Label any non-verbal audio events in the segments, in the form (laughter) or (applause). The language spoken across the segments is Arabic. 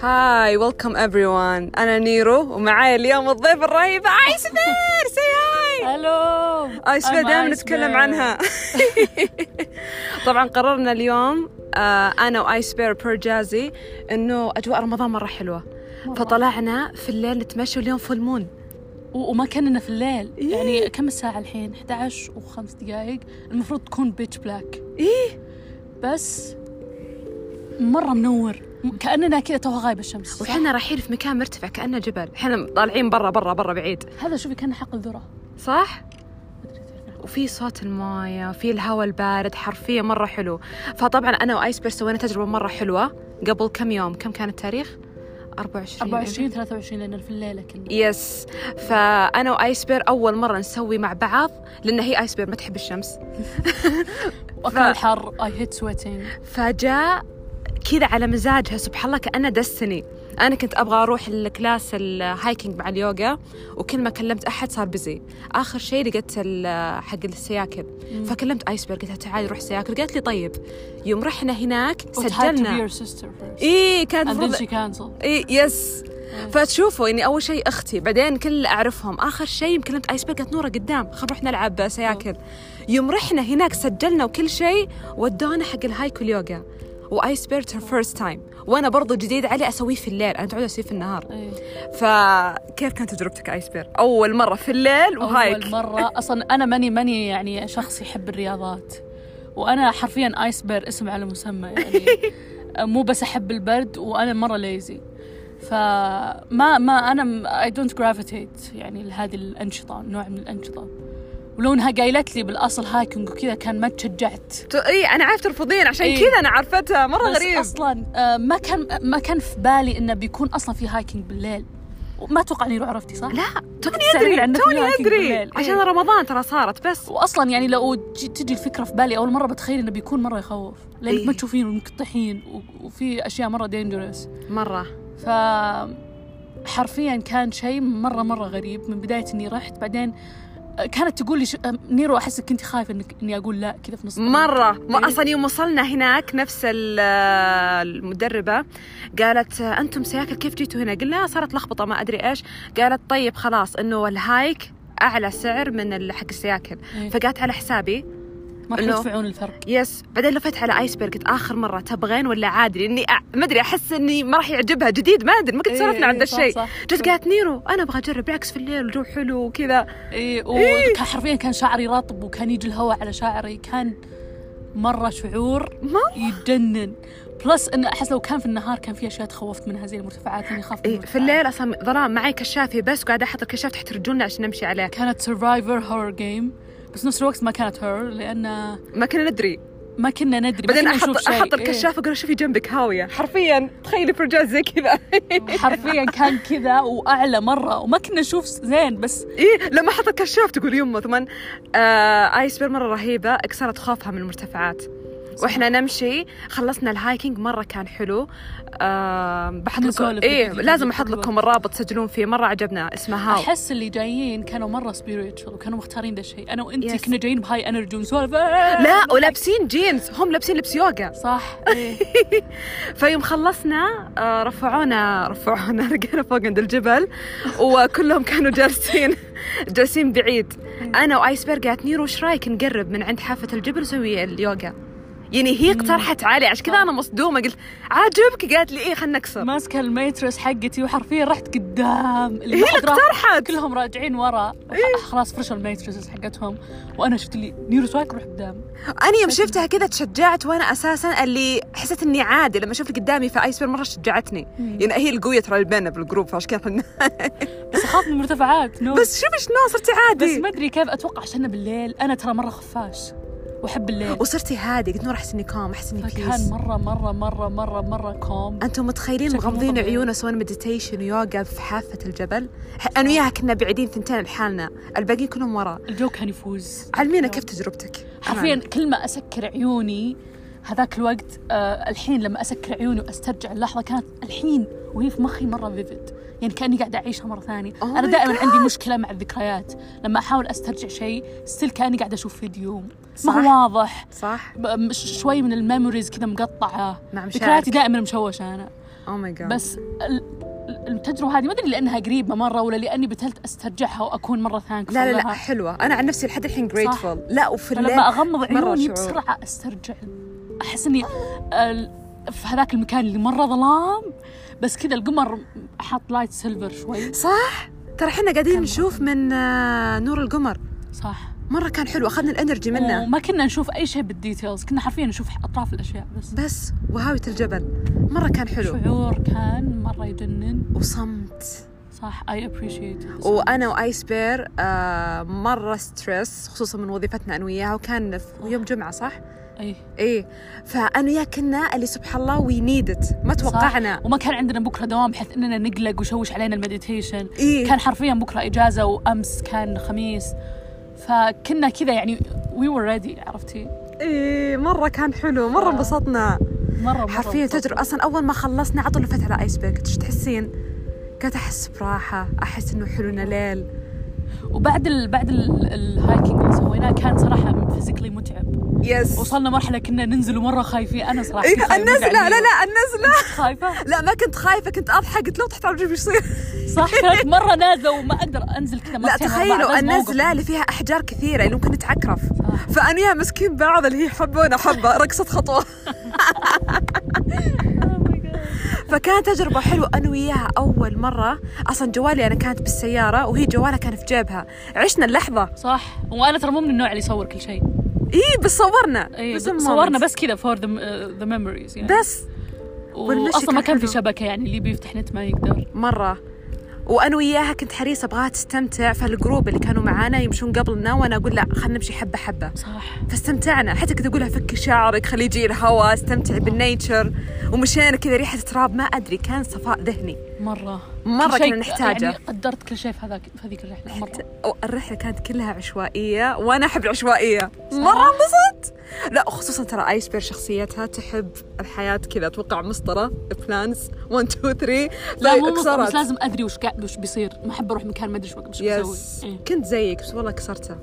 هاي ويلكم everyone انا نيرو ومعاي اليوم الضيف الرهيبه ايس بير سي هاي الو ايس بير I'm دائما Ice نتكلم Bear. عنها طبعا قررنا اليوم آه، انا وايس بير برجازي انه اجواء رمضان مره حلوه فطلعنا في الليل نتمشى اليوم فول مون و- وما كاننا في الليل إيه. يعني كم الساعه الحين 11 وخمس دقائق المفروض تكون بيتش بلاك ايه بس مره منور م- كاننا كذا توها غايبه الشمس صح؟ واحنا رايحين في مكان مرتفع كانه جبل احنا طالعين برا برا برا بعيد هذا شوفي كان حق الذره صح وفي صوت المايه في الهواء البارد حرفيا مره حلو فطبعا انا وايس بير سوينا تجربه مره حلوه قبل كم يوم كم كان التاريخ 24 24 23 لان في الليله إيه. كلها يس فانا وايس بير اول مره نسوي مع بعض لان هي ايس بير ما تحب الشمس واكل الحر اي هيت سويتنج فجاء كذا على مزاجها سبحان الله كأنه دسني أنا كنت أبغى أروح الكلاس الهايكينج مع اليوغا وكل ما كلمت أحد صار بزي آخر شيء لقيت ال- حق السياكل فكلمت آيسبرغ قلت لها تعالي نروح سياكل قالت لي طيب يوم رحنا هناك سجلنا إيه كانت And then المفروض she canceled. إيه يس فتشوفوا اني اول شيء اختي بعدين كل اللي اعرفهم اخر شيء كلمت ايسبرغ قالت نوره قدام خل نروح نلعب سياكل يوم رحنا هناك سجلنا وكل شيء ودونا حق الهايكو اليوغا وايسبرغ هير فيرست تايم وانا برضو جديد علي اسويه في الليل انا متعوده اسويه في النهار إيه. فكيف كانت تجربتك ايسبرغ اول مره في الليل وهايك اول مره اصلا انا ماني ماني يعني شخص يحب الرياضات وانا حرفيا ايس بير اسم على مسمى يعني مو بس احب البرد وانا مره ليزي فما ما انا اي دونت جرافيتيت يعني لهذه الانشطه نوع من الانشطه ولونها قايلت لي بالاصل هايكنج وكذا كان ما تشجعت اي انا عارف ترفضين عشان إيه. كذا انا عرفتها مره بس غريب اصلا آه، ما كان ما كان في بالي انه بيكون اصلا في هايكنج بالليل وما اتوقع اني عرفتي صح؟ لا توني تستعمل ادري عندك توني الهايكينج ادري بالليل. عشان إيه. رمضان ترى صارت بس واصلا يعني لو تجي, تجي الفكره في بالي اول مره بتخيل انه بيكون مره يخوف لانك إيه. ما تشوفين ومقطحين و- وفي اشياء مره دينجرس مره ف حرفيا كان شيء مره مره غريب من بدايه اني رحت بعدين آه، كانت تقول لي ش... آه، نيرو احسك كنت خايفه انك اني اقول لا كذا في نص الطريق. مرة ما إيه. أصلا يوم وصلنا هناك نفس ال- المدربة قالت أنتم سياكل كيف جيتوا هنا قلنا صارت لخبطة ما أدري إيش قالت طيب خلاص إنه الهايك أعلى سعر من ال- حق السياكل إيه. فقالت على حسابي ما راح إنه- يدفعون الفرق يس بعدين لفت على ايسبرغ قلت اخر مره تبغين ولا عادي لاني أ- ما ادري احس اني ما راح يعجبها جديد ما ادري ما كنت إيه، سولفنا عن إيه، ذا صح، الشيء صح. جت قالت نيرو انا ابغى اجرب بالعكس في الليل الجو حلو وكذا اي إيه. وحرفيا إيه، كان شعري رطب وكان يجي الهواء على شعري كان مره شعور مرة. يجنن بلس انه احس لو كان في النهار كان في اشياء تخوفت منها زي المرتفعات اني اخاف من إيه، في المرتفعات. الليل اصلا ظلام معي كشافي بس قاعده احط الكشاف تحت رجولنا عشان نمشي عليه كانت سرفايفر هورر جيم بس نفس الوقت ما كانت هورر لان ما كنا ندري ما كنا ندري ما بعدين كنا احط نشوف شيء. إيه. احط الكشاف اقول له شوفي جنبك هاويه حرفيا تخيلي فرجاز زي كذا (laughs) إيه. حرفيا كان كذا واعلى مره وما كنا نشوف زين بس ايه لما احط الكشاف تقول يمه ثم آه ايسبير مره رهيبه كسرت خوفها من المرتفعات واحنا نمشي خلصنا الهايكينج مره كان حلو آه بحط لكم نسولف ايه كذا. لازم احط لكم الرابط تسجلون فيه مره عجبنا اسمه هاو احس اللي جايين كانوا مره سبيريتشوال وكانوا مختارين ذا الشيء انا وانتي يس. كنا جايين بهاي انرجي ونسولف لا ولابسين جينز هم لابسين لبس يوغا صح إيه. فيوم خلصنا آه، رفعونا رفعونا (laughs) لقينا فوق عند الجبل وكلهم كانوا جالسين (laughs) جالسين بعيد انا وايسبرغ قالت نيرو ايش رايك نقرب من عند حافه الجبل ونسوي اليوغا يعني هي اقترحت علي عشان كذا انا مصدومه قلت عاجبك قالت لي ايه خلنا نكسر ماسكه الميترس حقتي وحرفيا رحت قدام اللي هي ما حد اللي راح- اقترحت كلهم راجعين ورا وح- خلاص فرشوا الميترس حقتهم وانا شفت اللي نيرو سوايك روح قدام انا يوم شفتها كذا تشجعت وانا اساسا اللي حسيت اني عادي لما شفت قدامي فايسبرغ مره شجعتني يعني هي القويه ترى اللي بيننا بالجروب فعشان كذا خلنا- بس اخاف من المرتفعات نو بس إيه. شوفي شلون صرتي عادي بس ما ادري كيف اتوقع عشان بالليل انا ترى مره خفاش واحب الليل وصرتي هادي قلت نور احس اني كام احس اني فكان بيس مره مره مره مره مره كوم انتم متخيلين شكله مو مغمضين طبيعي. عيونه سوينا مديتيشن ويوغا في حافه الجبل ح- انا وياها كنا بعيدين ثنتين لحالنا الباقيين كلهم ورا الجو كان يفوز علمينا كيف تجربتك حرفيا نعم. كل ما اسكر عيوني هذاك الوقت آه الحين لما اسكر عيوني واسترجع اللحظه كانت الحين وهي في مخي مره فيفيد يعني كاني قاعده اعيشها مره ثانيه Oh انا my دائما God. عندي مشكله مع الذكريات لما احاول استرجع شيء ستيل كاني قاعده اشوف فيديو ما صح. هو واضح صح نعم، ب- مش- شوي من الميموريز كذا مقطعه مع مشاعرك. ذكرياتي دائما مشوشه انا او ماي جاد بس ال- ال- التجربه هذه ما ادري لانها قريبه مره ولا لاني بتلت استرجعها واكون مره ثانكفul لا لا لا لها. حلوه انا عن نفسي لحد الحين صح. grateful لا وفي الليل فلما اغمض مرة عيوني شعور. بسرعه استرجع احس اني ال- في هذاك المكان اللي مره ظلام بس كذا القمر حاط لايت سيلفر شوي صح ترى احنا قاعدين نشوف من آه، نور القمر صح مره كان حلو اخذنا الانرجي منه وما كنا نشوف اي شيء بالديتيلز كنا حرفيا نشوف اطراف الاشياء بس بس وهاويه الجبل مره كان حلو شعور كان مره يجنن وصمت صح اي ابريشيت وانا وايس بير آه مره ستريس خصوصا من وظيفتنا انا وياها وكان في يوم جمعه صح؟ اي ايه فانا وياه كنا اللي سبحان الله وي نيدت ما توقعنا وما كان عندنا بكره دوام بحيث اننا نقلق وشوش علينا المديتيشن إيه. كان حرفيا بكره اجازه وامس كان خميس فكنا كذا يعني وي ور ريدي عرفتي ايه مره كان حلو مره انبسطنا مره مره حرفيا انبسطت. تجربه اصلا اول ما خلصنا على طول لفت على ايس بيرك ايش تحسين؟ قالت احس براحه احس انه حلو إنه ليل وبعد ال بعد ال- الهايكينج اللي سويناه كان صراحه فيزيكلي متعب يس وصلنا مرحله كنا ننزل ومره خايفين انا صراحه كنت إيه خايفة يعني النزله قاعدة- لا لا النزله خايفه لا ما كنت خايفه كنت اضحك قلت لو تحت على رجلي ايش يصير؟ صح كانت مره نازله وما اقدر انزل كذا لا مرتين ورا بعض، تخيلوا لازم أوقف. النزله اللي فيها احجار كثيره اللي ممكن نتعكرف صح. فانا وياها مسكين بعض اللي هي حبونا حبه رقصه (laughs) Oh خطوه فكانت تجربة حلوة أنا وياها أول مرة أصلا جوالي أنا كانت بالسيارة وهي جوالها كان في جيبها عشنا اللحظة صح وانا ترى مو من النوع اللي يصور كل شيء إيه بس صورنا اي the صورنا moment. بس كذا فور ذا ميموريز يعني بس والمشي واصلا ما كان كان في حلو. شبكه يعني اللي بيفتح نت ما يقدر مرة وأنا وياها كنت حريصة أبغاها تستمتع فالجروب اللي كانوا معانا يمشون قبلنا وأنا أقول لا خلينا نمشي حبة حبة صح فاستمتعنا حتى كنت أقولها فكي شعرك خلي يجي الهواء آه. استمتعي بالنيتشر ومشينا كذا ريحة تراب ما أدري كان صفاء ذهني مره مرة كل شيء كنا نحتاجه. يعني قدرت كل شيء في هذاك في هذيك الرحله مره الرحلة كانت كلها عشوائية وأنا أحب العشوائية مرة انبسطت لا خصوصا ترى آيس بير شخصيتها تحب الحياة كذا أتوقع مسطرة بلانز 1 2 3 لا مو مصر بس لازم ادري وش قاعد وش بيصير ما احب اروح مكان ما ادري وش بق- وش يس بسوي إيه. كنت زيك بس والله كسرتها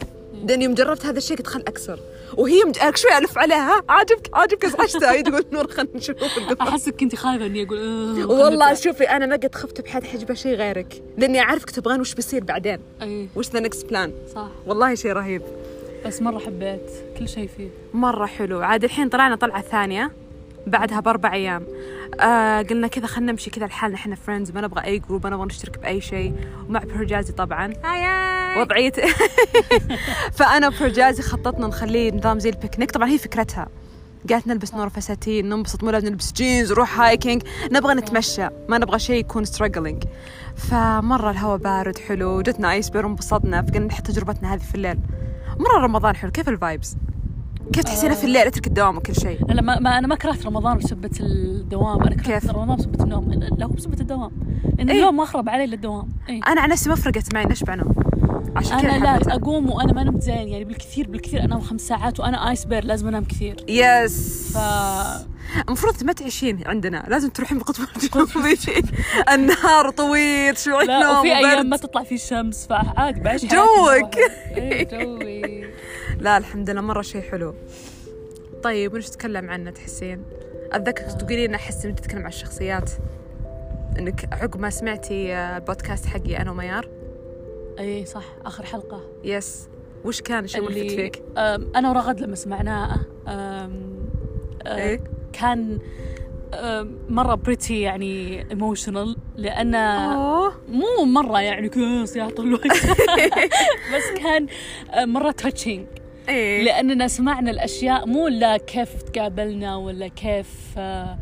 لأن يوم جربت هذا الشيء قلت خل أكسر وهي مج... أنا شوي ألف عليها عاجبك عاجبك ازعجتها هي تقول نور خلنا نشوف احسك كنت خايفه اني اقول آه، خلنا (laughs) والله نطلع. شوفي أنا ما قد خفت بحد حجبة شيء غيرك لأني أعرفك تبغين وش بيصير بعدين اي وش ذا نكست بلان صح والله شيء رهيب بس مره حبيت كل شيء فيه مرة حلو عاد الحين طلعنا طلعة ثانية بعدها بأربع أيام آه قلنا كذا خلنا نمشي كذا لحالنا احنا فريندز ما نبغى أي جروب ما نبغى نشترك بأي شيء ومع برجازي طبعا وضعية (laughs) فأنا برجازي خططنا نخليه نظام زي البيكنيك طبعا هي فكرتها قالت نلبس نور فساتين ننبسط مو لازم نلبس جينز نروح هايكينج نبغى نتمشى ما نبغى شيء يكون ستراجلينج فمرة الهواء بارد حلو جتنا ايس بير وانبسطنا فقلنا نحط تجربتنا هذه في الليل مرة رمضان حلو كيف الفايبس كيف تحسينها في الليل اترك الدوام وكل شيء انا ما, ما انا ما كرهت رمضان بسبة الدوام انا كرهت كيف؟ رمضان بسبة النوم لا لا، هو بسبة الدوام لان إيه. اليوم ما اخرب علي الا الدوام إيه. انا عن نفسي ما فرقت معي نشبع نوم عشان كذا انا لا حبيتها. اقوم وانا ما نمت زين يعني بالكثير بالكثير انام خمس ساعات وانا ايس بير لازم انام (laughs) كثير يس ف المفروض ما تعيشين عندنا لازم تروحين القطب الجنوبي (laughs) النهار طويل شعور لا نوم وفي ايام ما وبرد تطلع في الشمس فعادي بعيش حياتي جوك. جواها. (laughs) إيه، جوي لا الحمد لله مره شيء حلو طيب وش تتكلم عنه تحسين اتذكر كنت تقولين احس انك تتكلم عن الشخصيات انك عقب ما سمعتي آه، البودكاست حقي انا وميار اي صح اخر حلقه يس وش كان الشيء ملفت اللي فيك؟ أم، انا ورغد لما سمعناه أم، أه، إيه؟ كان أم، مره بريتي يعني ايموشنال لانه اوه مو مره يعني كوس يا طول الوقت بس كان آه، مره تاتشينج ايه لاننا سمعنا الاشياء مو لا كيف تقابلنا ولا كيف آه،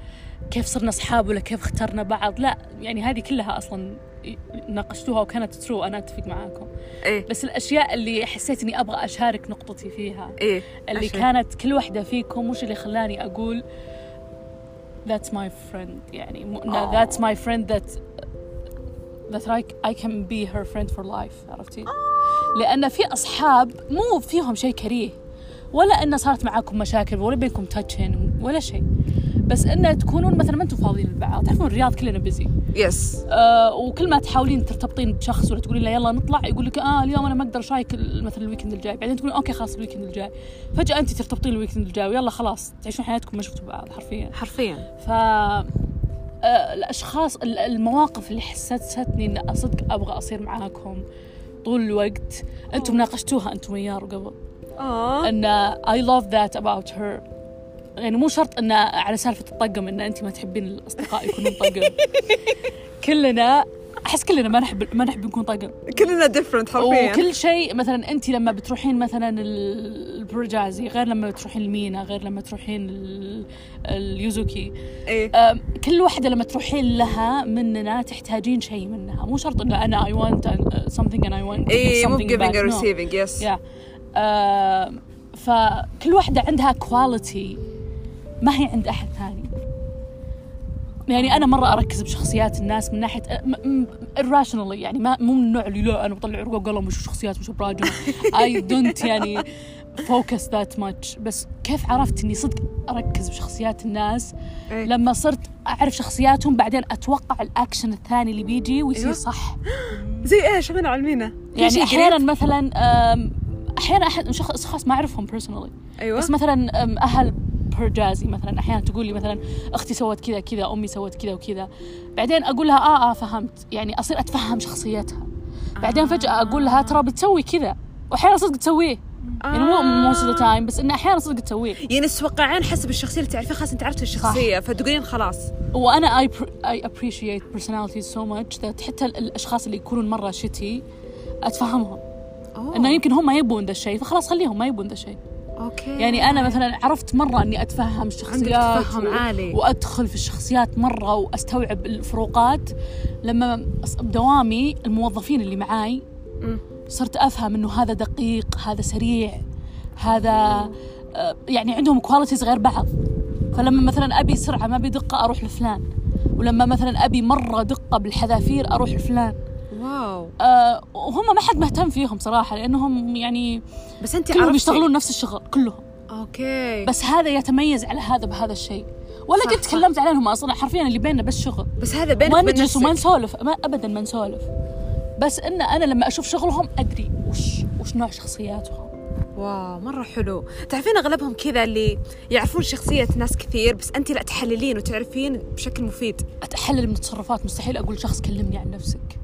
كيف صرنا اصحاب ولا كيف اخترنا بعض لا يعني هذه كلها اصلا ناقشتوها وكانت ترو انا اتفق معاكم ايه بس الاشياء اللي حسيت اني ابغى اشارك نقطتي فيها ايه اللي عشان. كانت كل واحدة فيكم وش اللي خلاني أقول that's my friend يعني مو no, that's my friend that that I, I can be her friend for life عرفتي؟ لأن في أصحاب مو فيهم شيء كريه ولا انه صارت معاكم مشاكل ولا بينكم تاتشين ولا شيء بس انه تكونون مثلا ما انتم فاضيين لبعض تعرفون الرياض كلنا بزي يس آه وكل ما تحاولين ترتبطين بشخص ولا تقولين له يلا نطلع يقول لك اه اليوم انا ما اقدر شايك ال- مثلا الويكند الجاي بعدين تقولين اوكي خلاص الويكند الجاي فجاه انت ترتبطين الويكند الجاي ويلا خلاص تعيشون حياتكم ما شفتوا بعض حرفيا حرفيا ف آه، الاشخاص ال- المواقف اللي حسستني ان صدق ابغى اصير معاكم طول الوقت انتم ناقشتوها انتم ويارو قبل اه ان اي لاف ذات اباوت هير يعني مو شرط انه على سالفه الطقم ان انت ما تحبين الاصدقاء يكونون طقم (laughs) كلنا احس كلنا ما نحب ما نحب نكون طقم كلنا ديفرنت حرفيا وكل شيء مثلا انت لما بتروحين مثلا ال- البرجازي غير لما بتروحين المينا غير لما تروحين ال- اليوزوكي إيه. أم، كل واحدة لما تروحين لها مننا تحتاجين شيء منها مو شرط انه انا I want an- something and I اي want إيه، مو something giving back. or No. receiving يس Yeah. أم، فكل واحدة عندها كواليتي ما هي عند أحد ثاني يعني أنا مرة أركز بشخصيات الناس من ناحية irrationally يعني ما مو من النوع اللي لا أنا بطلع ورقة وقلم وأشوف شخصيات وأشوف راجل I don't يعني focus that much بس كيف عرفت إني صدق أركز بشخصيات الناس إيه. لما صرت أعرف شخصياتهم بعدين أتوقع الأكشن الثاني اللي بيجي ويصير أيوة. صح زي إيه، ايش انا علمينا في شي يعني قريب؟ احيانا مثلا أم، احيانا احد شخص اشخاص ما اعرفهم بيرسونالي ايوه بس مثلا أم، اهل برجازي مثلا احيانا تقول لي مثلا اختي سوت كذا كذا امي سوت كذا وكذا بعدين اقول لها اه اه فهمت يعني اصير اتفهم شخصيتها بعدين فجاه اقول لها ترى بتسوي كذا واحيانا صدق تسويه يعني مو آه. موست ذا تايم بس انه احيانا صدق تسويه يعني تتوقعين حسب الشخصيه اللي تعرفيها خلاص انت عرفت الشخصيه فتقولين خلاص وانا اي اي ابريشيت personalities سو ماتش ذات حتى الاشخاص اللي يكونون مره شتي اتفهمهم آه. انه يمكن هم ما يبون ذا الشيء فخلاص خليهم ما يبون ذا الشيء اوكي يعني انا مثلا عرفت مره اني اتفهم الشخصيات تفهم عالي. وادخل في الشخصيات مره واستوعب الفروقات لما أص- بدوامي الموظفين اللي معاي مم. صرت افهم انه هذا دقيق هذا سريع هذا آه، يعني عندهم كواليتيز غير بعض فلما مثلا ابي سرعه ما ابي دقه اروح لفلان ولما مثلا ابي مره دقه بالحذافير اروح لفلان واو أه وهم ما حد مهتم فيهم صراحه لانهم يعني بس انت كلهم عرفتي يشتغلون نفس الشغل كلهم اوكي بس, بس هذا يتميز على هذا بهذا الشيء ولا صح، قد صح. تكلمت عليهم اصلا حرفيا اللي بيننا بس شغل بس هذا بينك ما وبين نجلس وما نفسك نسولف ما ابدا ما نسولف بس ان انا لما اشوف شغلهم ادري وش وش نوع شخصياتهم واو مره حلو تعرفين اغلبهم كذا اللي يعرفون شخصيه ناس كثير بس انت لا تحللين وتعرفين بشكل مفيد اتحلل من تصرفات مستحيل اقول شخص كلمني عن نفسك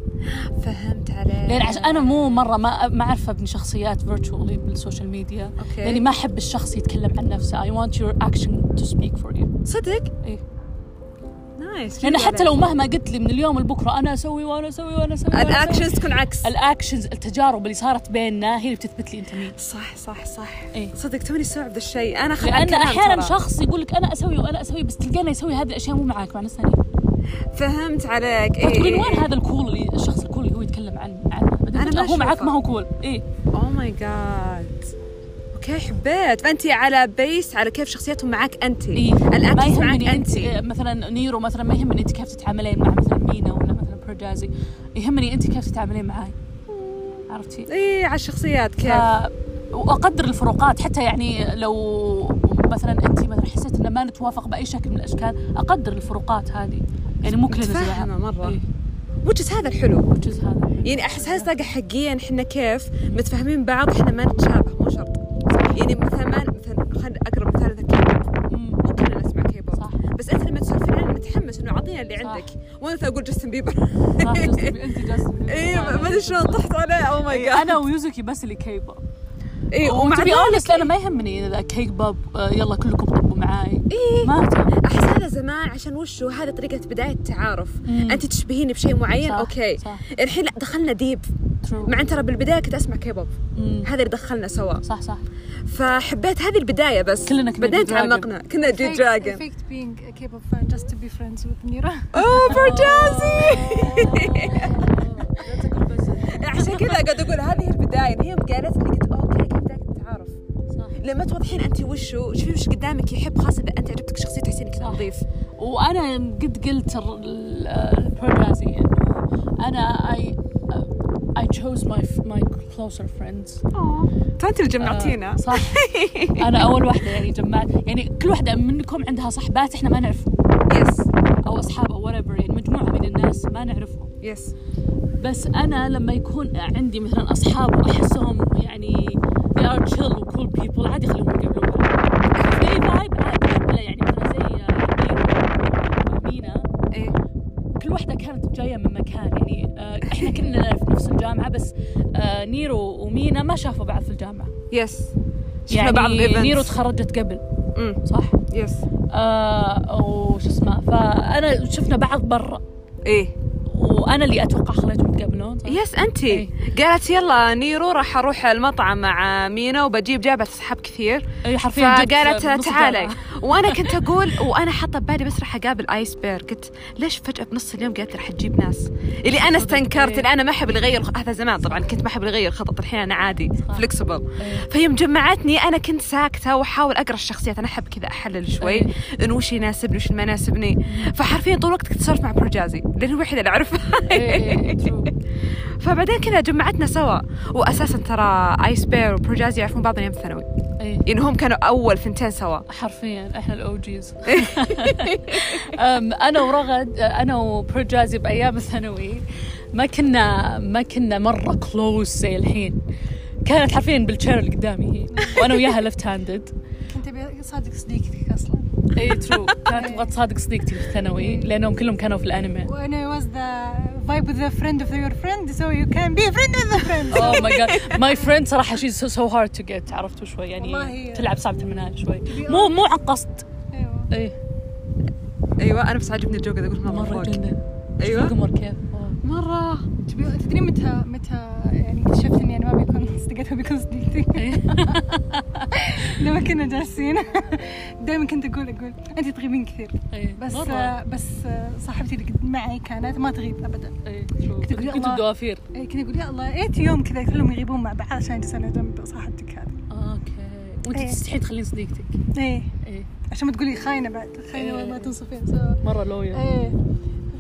فهمت عليك لان عشان انا مو مره ما ما اعرف ابني شخصيات فيرتشوالي بالسوشيال ميديا أوكي. لاني ما احب الشخص يتكلم عن نفسه I want your action to speak for you صدق إيه. نايس لان حلو حتى لو عليك. مهما قلت لي من اليوم لبكره انا اسوي وانا اسوي وانا اسوي وأنا أسوي. الاكشنز تكون عكس الاكشنز التجارب اللي صارت بيننا هي اللي بتثبت لي انت مين صح صح صح إيه. صدق توني استوعب ذا الشيء انا خل عن لان كلام احيانا ترى. شخص يقول لك انا اسوي وانا اسوي بس تلقانه يسوي هذه الاشياء مو معاك مع ناس ثانيين إيه. فهمت عليك إيه. اي تقولين وين هذا الكول اللي الشخص الكول اللي هو يتكلم عن عنه بعدين أنا فجأة ما هو معك أشوفه. ما هو كول إيه، اي اوه ماي جاد اوكي حبيت فانت على بيس على كيف شخصيتهم معك انت اي إيه. ما الاكشنز معك يهمني انت انت إيه، مثلا نيرو مثلا ما يهمني انت كيف تتعاملين مع مثلا مينا ولا مثلا برجازي يهمني انت كيف تتعاملين معاي عرفتي؟ اي إيه، على الشخصيات كيف ف- واقدر الفروقات حتى يعني لو مثلا انت مثلا حسيت ان ما نتوافق باي شكل من الاشكال اقدر الفروقات هذه يعني مو كلنا زي بعض. متفهمة مرة. إيه، وجز هذا الحلو جزء هذا يعني احس هذا طاقة حقيقيا احنا كيف متفاهمين بعض احنا ما نتشابه مو شرط يعني مثلا ما- مثلا خلينا اقرب مثال الكيبوب مم، مو كلنا نسمع كيبوب صح بس انت لما تسولفين انا متحمس انه اعطينا اللي صح. عندك وانا مثلا اقول جاستن بيبر (laughs) صح، جاستن- انت جاستن اي إيه، ما ما ادري شلون طحت عليه Oh او ماي جاد انا ويوزوكي بس اللي كيبا اي إيه، ومع إيه، ومع بي ذلك اونست انا ما يهمني اذا كيك باب آه، يلا كلكم طبوا معاي إيه. ما أهتم. احس هذا زمان عشان وشو هذا طريقه بدايه التعارف مم. انت تشبهيني بشيء معين صح، اوكي صح. الحين لا دخلنا ديب True. مع ان ترى بالبدايه كنت اسمع كيبوب مم. هذا اللي دخلنا سوا صح (laughs) صح (laughs) فحبيت هذه البدايه بس كلنا كنا بعدين G Dragon. تعمقنا كنا جي faked, I دراجون faked being a K-pop fan just to be friends with Nira. (laughs) اوه (laughs) برجازي (laughs) عشان كذا قاعد اقول هذه البدايه هي يوم قالت لي قلت اوكي هي بدايه التعارف صح لما توضحين انت وشو شوفي وش قدامك يحب خاصه اذا انت عجبتك شخصيه تحسين انك صح. نظيف وانا قد قلت البرجازي انه انا اي يعني. I chose my f- my closer friends انت اللي آه، جمعتينا صح آه. (laughs) انا اول واحده يعني جمعت يعني كل واحده منكم عندها صحبات احنا ما نعرفهم يس او اصحاب او whatever يعني مجموعه من الناس ما نعرفهم يس بس انا لما يكون عندي مثلا اصحاب واحسهم يعني they are chill و cool people عادي خليهم يقابلون بعض If they vibe انا اتقبله يعني مثلا زي آه، عبير ومينا ايه كل واحدة كانت جاية من مكان يعني آه، احنا كلنا في نفس الجامعة بس آه، نيرو ومينا ما شافوا بعض في الجامعة يس شفنا يعني بعض الإيفنتس. نيرو تخرجت قبل أمم، صح؟ يس آه وش اسمه فانا شفنا بعض برا ايه وانا اللي اتوقع خليتهم يتقابلون صح؟ يس انت إيه. قالت يلا نيرو راح اروح المطعم مع مينا وبجيب جابت اصحاب كثير اي حرفيا إيه، جبت فقالت نص تعالي الجامعة. وانا كنت اقول وانا حاطه ببالي بس راح اقابل ايسبير قلت ليش فجاه بنص اليوم قالت راح تجيب ناس اللي انا استنكرت إيه. اللي انا ما احب اللي يغير هذا زمان طبعا كنت ما احب اللي يغير خطط الحين انا عادي صح. فليكسبل إيه. فيوم جمعتني انا كنت ساكته واحاول اقرا الشخصيات انا احب كذا احلل شوي إيه. انه وش يناسبني وش ما يناسبني فحرفيا طول الوقت كنت صرت مع برجازي لانه هو الوحيد اللي اعرفه إيه، إيه، إيه، true. (laughs) فبعدين كذا جمعتنا سوا واساسا ترى ايس بير وبرجاز يعرفون بعض من ايام الثانوي إيه. يعني هم كانوا اول ثنتين سوا حرفيا احنا الاو جيز (laughs) انا ورغد انا وبرجازي بايام الثانوي ما كنا ما كنا مره كلوز زي الحين كانت حرفيا بالشير اللي قدامي هي وانا وياها ليفت هاندد كنت ابي صادق صديقتك اصلا اي ترو كانت تبغى تصادق صديقتي في الثانوي لانهم كلهم كانوا في الانمي وانا was the vibe with the friend of your friend so you can be a friend with the friend (laughs) اوه ماي جاد ماي فريند صراحه شي سو هارد تو جيت عرفتوا شوي والله. يعني تلعب صعبه من هذا شوي مو مو عن قصد ايوه اي ايوه انا بس عاجبني الجوك اذا قلت مره مره فوق جنن ايوه القمر كيف أوه. مره تبي- تدري متى متى يعني اكتشفت اني انا ما بيكون صديقتها بيكون صديقتي (laughs) (laughs) لما كنا جالسين (laughs) دائما كنت اقول اقول انت تغيبين كثير إيه. بس مرة. آه، بس آه، صاحبتي اللي معي كانت ما تغيب ابدا إيه. تقول يا كنتوا الله. دوافير إيه، كنت اقول يا الله ايتي يوم كذا كلهم يغيبون مع بعض عشان اجلس انا جنب صاحبتك هذه اوكي وانت إيه. تستحي تخلين صديقتك ايه ايه عشان ما تقولي خاينه بعد خاينه إيه. وما تنصفين سو مره لويا ايه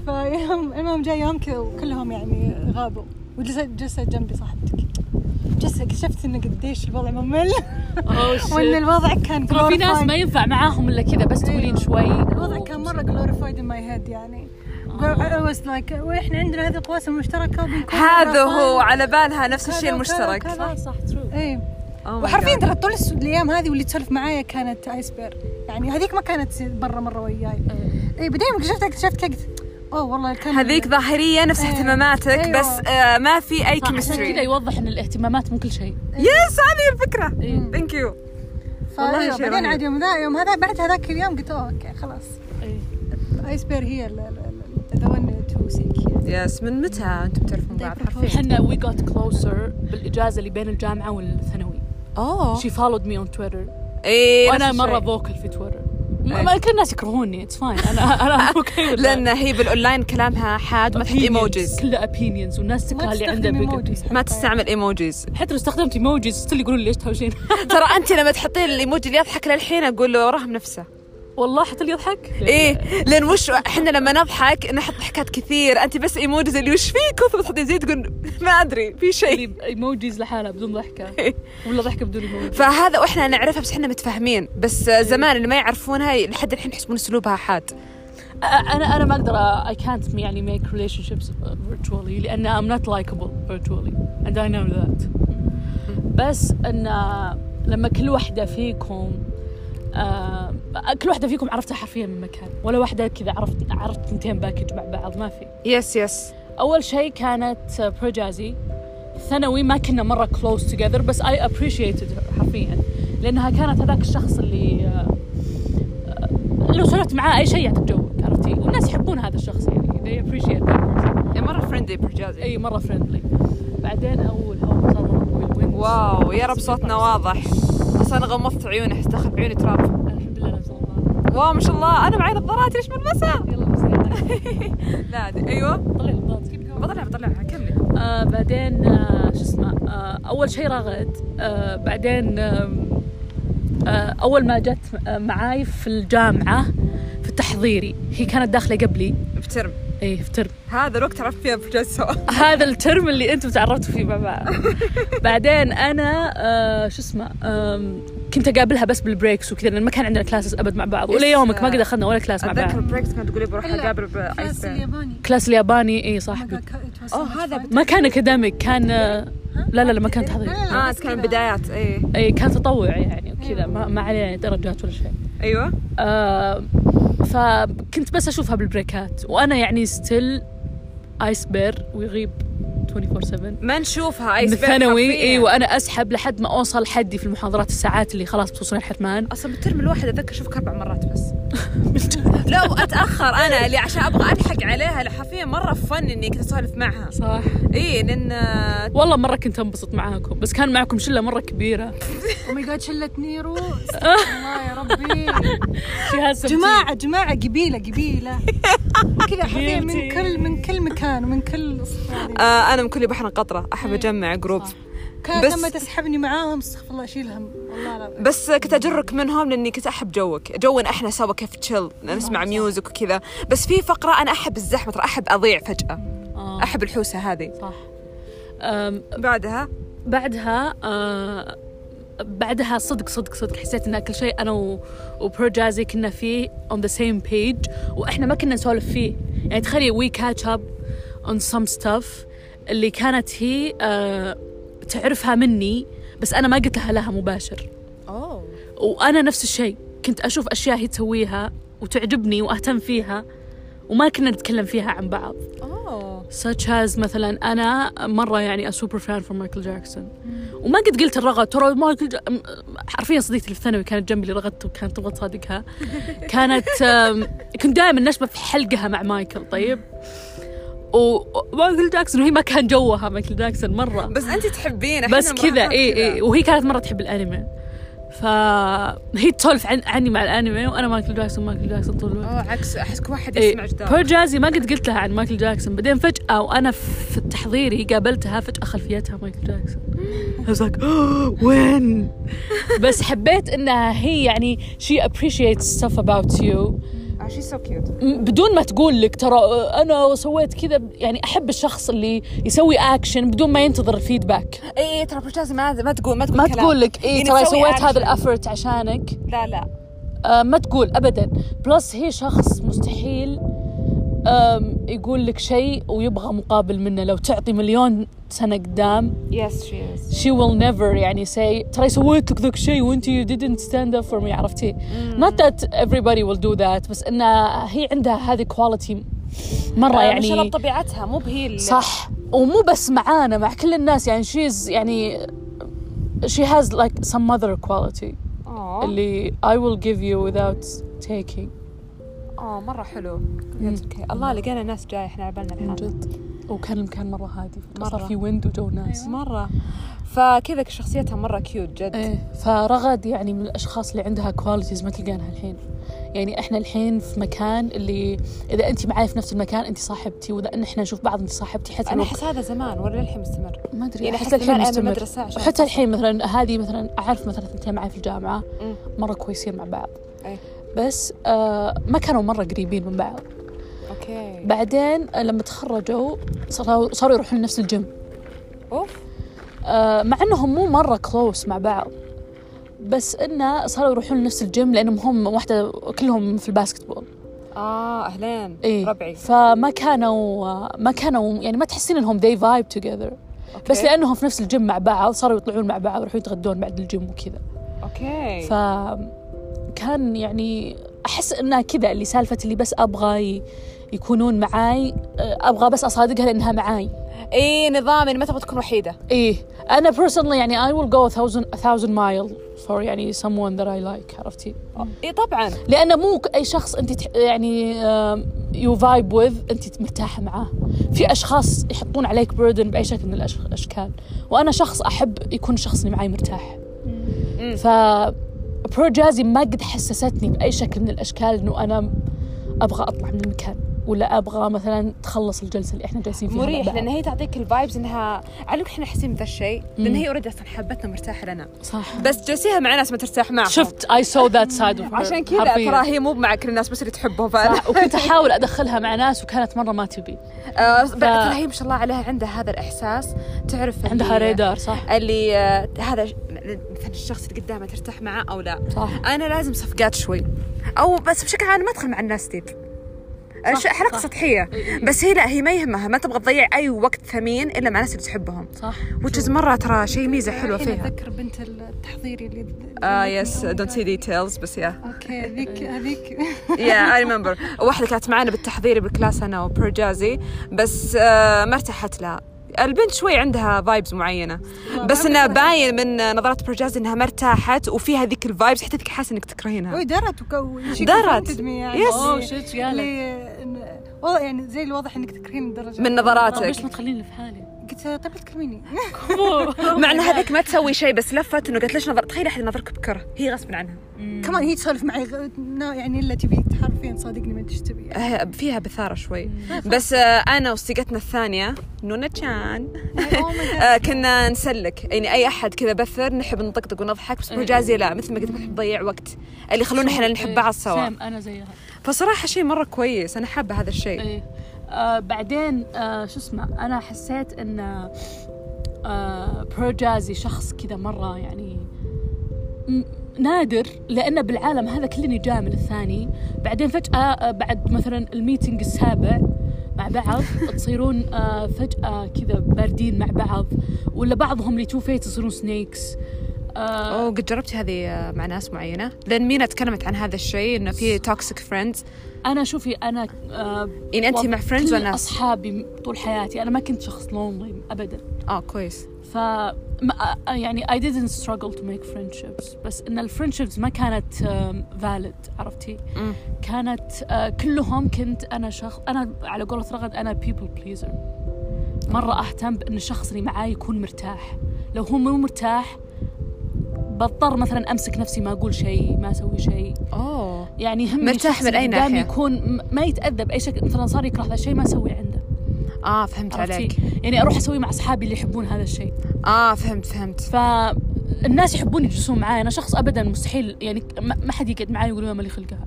فيوم المهم جاء يوم كذا وكلهم يعني غابوا وجلست جلست جنبي صاحبتك جلست اكتشفت انه قديش الوضع ممل (laughs) وان الوضع كان ترى في ناس ما glorified. ينفع معاهم الا كذا بس تقولين شوي Oh, الوضع كان مره glorified in my head يعني I was like واحنا عندنا هذه القواسم المشتركه وبنكون آه. هذا مرة هو fine. على بالها نفس كذا الشيء وكذا المشترك وكذا. صح صح ترو ايه Oh my وحرفيا God. ترى طول الس- الايام هذه واللي تسولف معايا كانت ايسبير يعني هذيك ما كانت برا مره وياي إيه. اي بعدين لما اكتشفت اكتشفت كنت اوه والله كان هذيك ظاهريه نفس إيه. اهتماماتك أيوة. بس آه ما في اي عشان كذا كيمستري يوضح ان الاهتمامات من كل شيء يس هذه الفكره ثانك يو والله والله شيء طيب، بعدين رهيب. عاد يوم ذا يوم هذا بعد هذاك اليوم قلت اوه اوكي خلاص إيه. Oh, ايسبير هي ذا ون تو سيك يس من متى انتم تعرفون بعض طيب، حرفيا احنا وي جوت كلوزر بالاجازه اللي بين الجامعه والثانوي اوه شي فولود مي اون تويتر اي وانا Oh. إيه، نفس (laughs) مره (laughs) الشيء. فوكل في تويتر إيه. ما كل الناس يكرهوني اتس فاين انا (laughs) انا اوكي لان هي بالاونلاين كلامها حاد ما تحط طيب. ايموجيز كلها opinions والناس تكره اللي عنده بيجتي ما طيب. تستعمل (laughs) ايموجيز حتى لو استخدمت ايموجيز ستيل يقولون لي ليش تهوشين ترى انت لما تحطين الايموجي اللي يضحك للحين اقول له وراهم نفسه (laughs) والله حتى اللي يضحك ايه لان وش احنا لما نضحك نحط ضحكات كثير انت بس ايموجيز اللي وش فيك ثم تحطين زي تقول ما ادري في شيء اللي ايموجيز يعني لحالها بدون ضحكه (laughs) إيه. ولا ضحكه بدون ايموجي فهذا واحنا نعرفها بس احنا متفاهمين بس زمان اللي ما يعرفونها لحد الحين يحسبون اسلوبها حاد أ- انا انا ما اقدر اي كانت يعني uh, ميك ريليشن شيبس فيرتشوالي لان ام نوت لايكابل فيرتشوالي اند اي نو ذات بس ان لما كل واحده فيكم آه كل واحده فيكم عرفتها حرفيا من مكان ولا واحده كذا عرفت عرفت ثنتين باكج مع بعض ما في يس يس اول شيء كانت برجازي ثانوي ما كنا مره كلوز توجذر بس اي ابريشيتد حرفيا لانها كانت هذاك الشخص اللي آه، لو سولفت معاه اي شيء يعطيك جوك عرفتي والناس يحبون هذا الشخص يعني they appreciate that person. مره فريندلي برجازي اي مره فريندلي بعدين اول هو صار مرة قوي، الويندز. واو يا رب صوتنا واضح اصلا غمضت عيوني احس دخل بعيوني تراب الحمد لله نزل الله. واو ما شاء الله انا معي نظارات ليش ملبسه يلا بس يلا. لا دي. ايوه طلع الباط. بطلع بطلعها كملي آه بعدين آه شو اسمه آه اول شيء رغد آه بعدين آم، آه اول ما جت آه، معاي في الجامعه في التحضيري هي كانت داخله قبلي بترم ايه في ترم هذا الوقت عرفت فيها في جلسة هذا الترم اللي انتم تعرفتوا فيه مع بعض بعدين انا آه شو اسمه آم، كنت اقابلها بس بالبريكس وكذا لان ما كان عندنا كلاسز ابد مع بعض ولا يس. يومك ما قد اخذنا ولا كلاس مع اتذكر بعض بريكس كانت تقولي بروح إلا اقابل بايس كلاس بير الياباني كلاس الياباني اي صح Oh اوه هذا بت- ما كان اكاديميك كان آه، لا لا لا ما كان تحضير لا، اه بس كان كذا. بدايات ايه اي كان تطوع يعني وكذا ما, ما عليه يعني درجات ولا شيء ايوه آه، فكنت بس اشوفها بالبريكات وانا يعني ستيل ايس بير ويغيب 24 7 ما نشوفها ايس من أيوة. بير الثانوي حرفياً. اي وانا اسحب إيه، لحد ما اوصل حدي في المحاضرات الساعات اللي خلاص بتوصلني الحرمان اصلا بالترم الواحد اتذكر اشوفك اربع مرات (laughs) بس لا واتاخر انا اللي عشان ابغى الحق عليها لا حرفيا مره فن اني كنت اسولف معها صح اي لان آه، والله مره كنت انبسط معاكم بس كان معكم شله مره كبيره (laughs) او ماي جاد شله (laughs) نيرو استغفر الله يا ربي شهاد سمتي. جماعة جماعة قبيلة قبيلة (laughs) كذا حرفيا قبيلتي. من كل من كل مكان ومن كل يعني آه، انا من كل بحر قطره احب اجمع جروب صح. كانت بس- لما تسحبني معاهم استغفر الله اشيلهم والله لا بس كنت اجرك منهم لاني كنت احب جوك جونا احنا سوا كيف تشيل نسمع ميوزك وكذا بس في فقره انا احب الزحمه ترى احب اضيع فجاه آه، احب الحوسه هذه صح أم، بعدها بعدها آه، بعدها صدق صدق صدق حسيت ان كل شيء انا و- وبرو جازي كنا فيه on the same page واحنا ما كنا نسولف فيه يعني تخيلي we catch up on some stuff اللي كانت هي آه، تعرفها مني بس انا ما قلت لها لها مباشر اوه وانا نفس الشيء كنت اشوف اشياء هي تسويها وتعجبني واهتم فيها وما كنا نتكلم فيها عن بعض اوه such as مثلا انا مره يعني سوبر فان فور مايكل جاكسون وما قد قلت الرغد ترى مايكل جا... م- حرفيا صديقتي اللي في الثانوي كانت جنبي اللي رغدت وكانت تبغى (laughs) تصادقها كانت أم، كنت دائما نشبه في حلقها مع مايكل طيب ومايكل جاكسون وهي ما كان جوها مايكل جاكسون مره بس انت تحبينه بس إحنا كذا إيه، المراهقات اي كذا. اي وهي كانت مره تحب الانمي فهي تسولف عن عني مع الانمي وانا مايكل جاكسون مايكل جاكسون طول الوقت اوه عكس احسك واحد إيه، يسمع جدار بير جازي ما قد قلت لها عن مايكل جاكسون بعدين فجأة وأنا في تحضيري قابلتها فجأة خلفيتها مايكل جاكسون I was like, (gasps) "Oh, وين بس حبيت انها هي يعني she appreciates stuff about you اه شي سو كيوت م- بدون ما تقول لك ترى آه، انا سويت كذا يعني احب الشخص اللي يسوي اكشن بدون ما ينتظر الفيدباك اي اي إيه، ترى برجازي ما ما تقول ما تقول ما كلام. تقول لك اي يعني ترى تسوي سويت action. هذا الافورت عشانك لا لا آه، ما تقول ابدا بلس هي شخص مستحيل آم، يقول لك شيء ويبغى مقابل منه لو تعطي مليون سنة قدام يس شي از she will never يعني say ترى سويت لك ذاك الشيء وانت you didn't stand up for me عرفتي not that everybody will do that بس انها هي عندها هذه كواليتي مرة آه، ما شاء الله يعني بطبيعتها مو بهي ال- صح ومو بس معانا مع كل الناس يعني she's يعني she has like some other quality اوه اللي I will give you without taking اوه مره آه، حلو اوكي الله لقينا ناس جايه احنا على بالنا من الحال جد أيوة. وكان المكان مرة هادي مرة. مرة صار في ويند وجو ناس مره فكذا شخصيتها مره كيوت جد ايه فرغد يعني من الاشخاص اللي عندها كواليتيز ما تلقانها الحين يعني احنا الحين في مكان اللي اذا انت معي في نفس المكان انت صاحبتي واذا ان احنا نشوف بعض انت صاحبتي حتى انا لو- احس هذا زمان ولا الحين مستمر ما ادري يعني أحس أحس زمان أيام مستمر. المدرسة عشان وحتى أحس- الحين مثلا هذه مثلا اعرف مثلا اثنتين معي في الجامعه مم. مره كويسين مع بعض إيه. بس آه ما كانوا مره قريبين من بعض اوكي بعدين آه، لما تخرجوا صاروا صاروا يروحون نفس الجيم اوف آه، مع انهم مو مره كلوس مع بعض بس انه صاروا يروحون لنفس الجيم لانهم هم واحده كلهم في الباسكتبول اه اهلين اي ربعي فما كانوا آه، ما كانوا يعني ما تحسين انهم they vibe together أوكي. بس لانهم في نفس الجيم مع بعض صاروا يطلعون مع بعض ويروحون يتغدون بعد الجيم وكذا اوكي فكان يعني احس انها كذا اللي سالفه اللي بس ابغى ي- يكونون معاي آه، ابغى بس اصادقها لانها معاي اي نظام يعني إن ما تبغى تكون وحيده ايه انا personally يعني I will go a thousand, a thousand mile for يعني someone that I like عرفتي اي طبعا لانه مو اي شخص انت تح- يعني يو فايب وذ انت مرتاحه معاه في اشخاص يحطون عليك بردن باي شكل من الأش- الاشكال وانا شخص احب يكون الشخص اللي معي مرتاح مم. ف برو جازي ما قد حسستني باي شكل من الاشكال انه انا ابغى اطلع من المكان ولا ابغى مثلا تخلص الجلسه اللي احنا جالسين فيها مع مريح بعض. لان هي تعطيك الفايبز انها على الأقل احنا حاسين بذا الشيء لان هي اوريدي اصلا حبتنا مرتاحه لنا صح بس جلسيها مع ناس ما ترتاح معهم شفت اي سو ذات سايد عشان كذا ترى هي مو مع كل الناس بس اللي تحبهم فانا وكنت احاول ادخلها مع ناس وكانت مره ما تبي آه، بعد ترى هي ما شاء الله عليها عندها هذا الاحساس تعرف عندها اللي- رادار صح اللي آه، هذا ش- مثلا الشخص اللي قدامه ترتاح معاه او لا صح انا لازم صفقات شوي او بس بشكل عام ما ادخل مع الناس ديب أش- حلقه سطحيه بس هي لا هي ما يهمها ما تبغى تضيع اي وقت ثمين الا مع الناس اللي تحبهم صح وتشز مره ترى شيء ميزه حلوه الحين فيها اتذكر بنت التحضيري اللي اه يس دونت سي ديتيلز بس يا اوكي هذيك هذيك يا اي ريمبر واحده كانت معنا بالتحضيري بالكلاس انا وبرجازي بس آه، ما ارتحت لها البنت شوي عندها فايبز معينه بس انها باين من نظرات برجازي انها ما ارتاحت وفيها ذيك الفايبز حتى ذيك حاسه انك تكرهينها وي درت وكو شي نعم. درت. confronted me يعني Yes. اوه شفت (laughs) قالت اللي- والله يعني زي الواضح انك تكرهين الدرجة من نظراتك. (laughs) ليش ما تخليني في حالي قلت لها، طيب لا (laughs) تكلميني مع ان هذيك ما تسوي شيء بس لفت انه قالت ليش نظر تخيل احد نظرك بكره هي غصب عنها كمان هي تسولف معي غ- نا- يعني الا تبي حرفيا صدقني ما ادري ايش تبي أه، يعني. آه، فيها بثاره شوي بس آه، انا وصديقتنا الثانيه نونا تشان Oh my God. آه، (laughs) كنا نسلك يعني اي احد كذا بثر نحب نطقطق ونضحك بس برجازي لا مثل ما قلت نحب نضيع وقت اللي يخلونا احنا نحب بعض سوا سام انا زيها فصراحه شيء مره كويس انا حابه هذا الشيء ايه آه بعدين آه شو اسمه انا حسيت ان آه بروجازي شخص كذا مره يعني م- نادر لانه بالعالم هذا كلني جاء من الثاني بعدين فجاه آه بعد مثلا الميتنج السابع مع بعض تصيرون آه فجاه كذا باردين مع بعض ولا بعضهم اللي تو فيت يصيرون سنيكس آه اوه قد جربتي هذه آه، مع ناس معينه لان مينا تكلمت عن هذا الشيء انه في توكسيك فريندز انا شوفي انا آه يعني انت وض- مع فريندز كل ولا ناس؟ اصحابي طول حياتي انا ما كنت شخص لونلي ابدا اه كويس ف ما- يعني I didn't struggle to make friendships بس ان الفريندشيبس ما كانت آم، valid عرفتي؟ مم. كانت آه، كلهم كنت انا شخص انا على قولة رغد انا people pleaser مرة اهتم بان الشخص اللي معاي يكون مرتاح لو هو مو مرتاح بضطر مثلا امسك نفسي ما اقول شيء ما اسوي شيء اوه يعني يهمني مرتاح الشخص من اللي أي قدامي ناحية؟ يكون م- ما يتاذى باي شكل مثلا صار يكره ذا الشيء ما اسوي عنده اه فهمت عليك عرفتي؟ يعني اروح اسوي مع اصحابي اللي يحبون هذا الشيء اه فهمت فهمت فالناس يحبون يجلسون معي انا شخص ابدا مستحيل يعني ما ما حد يقعد معي ويقول ما لي خلقها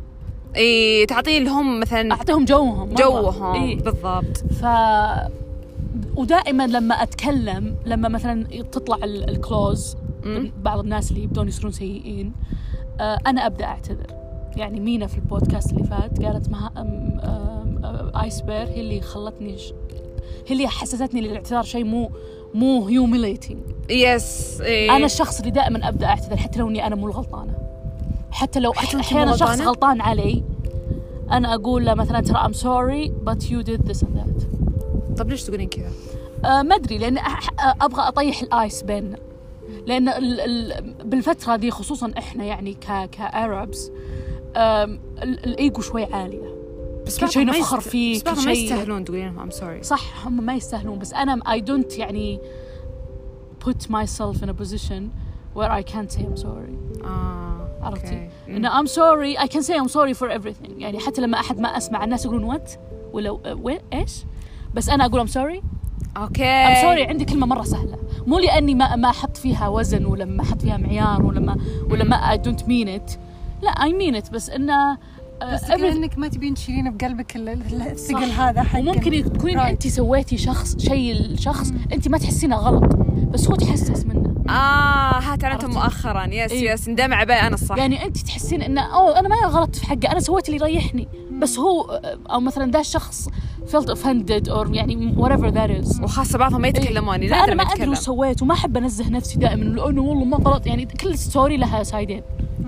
اي تعطي لهم مثلا اعطيهم جوهم مرة. جوهم إيه. بالضبط ف ودائما لما اتكلم لما مثلا تطلع ال- الكلوز مم. بعض الناس اللي يبدون يصيرون سيئين آه، انا ابدا اعتذر يعني مينا في البودكاست اللي فات قالت ما أم- أم- أم- ايس بير هي اللي خلتني ش... هي اللي حسستني للاعتذار شيء مو مو هيوميليتنج يس إيه. انا الشخص اللي دائما ابدا اعتذر حتى لو اني انا مو الغلطانه حتى لو حتى حتى وأنت احيانا مو شخص غلطانة؟ غلطان علي انا اقول له مثلا ترى ام سوري بت يو ديد ذس اند ذات طب ليش تقولين كذا؟ ما ادري لان أح- آه، ابغى اطيح الايس بيننا لان ال ال بالفتره ذي خصوصا احنا يعني ك كاربز الايجو شوي عاليه بس كل بعضهم شيء ما نفخر يست- فيه، بس كل بعضهم ما شيء- يستاهلون تقولين لهم ام سوري صح هم ما يستاهلون بس انا I don't يعني put myself in a position where I can't say I'm sorry اه عرفتي؟ أوكي. مم. انه I'm sorry I can say I'm sorry for everything يعني حتى لما احد ما اسمع الناس يقولون وات ولا وين ايش بس انا اقول I'm sorry اوكي I'm sorry عندي كلمه مره سهله مو لاني ما ما احط فيها وزن ولا ما احط فيها معيار ولا ما ولا ما I don't mean it لا I mean it بس انه آه، بس everything- كانك ما تبين تشيلين بقلبك ال- ال- الثقل هذا حق وممكن يعني- تكونين Right. انت سويتي شخص شيء لشخص انت ما تحسينه غلط بس هو تحسس منه اه هات انا عرفتي؟ مؤخرا يس إيه. يس ندمع على بالي انا الصح يعني انت تحسين انه اوه انا ما غلطت في حقه انا سويت اللي يريحني بس هو او مثلا ذا الشخص felt offended or يعني whatever that is وخاصه بعضهم ما يتكلمون إيه. فانا ما ادري وش سويت وما احب انزه نفسي دائما لانه والله ما غلط يعني كل ستوري لها سايدين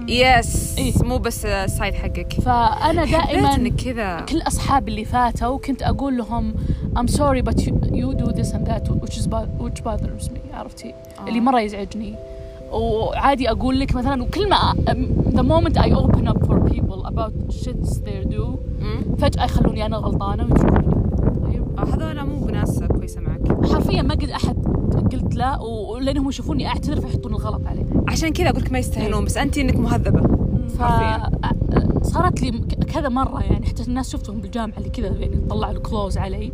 يس إيه. مو بس آه، السايد حقك فانا حبيت دائما انك كذا كل اصحابي اللي فاتوا كنت اقول لهم I'm sorry but you, you do this and that which is bo- which bothers me عرفتي آه. اللي مره يزعجني وعادي اقول لك مثلا وكل ما um, the moment I open up for people about shits they do مم. فجأة يخلوني أنا غلطانة ويشوفوني طيب آه، هذولا مو بناس كويسه معك حرفيا ما قد أحد قلت لا و- ولأنهم يشوفوني أعتذر فيحطون الغلط علي إيه. عشان كذا اقول لك ما يستاهلون بس انت انك مهذبه ف حرفياً. أ- صارت لي ك- كذا مرة يعني حتى الناس شفتهم بالجامعة اللي كذا يعني طلعوا الكلوز علي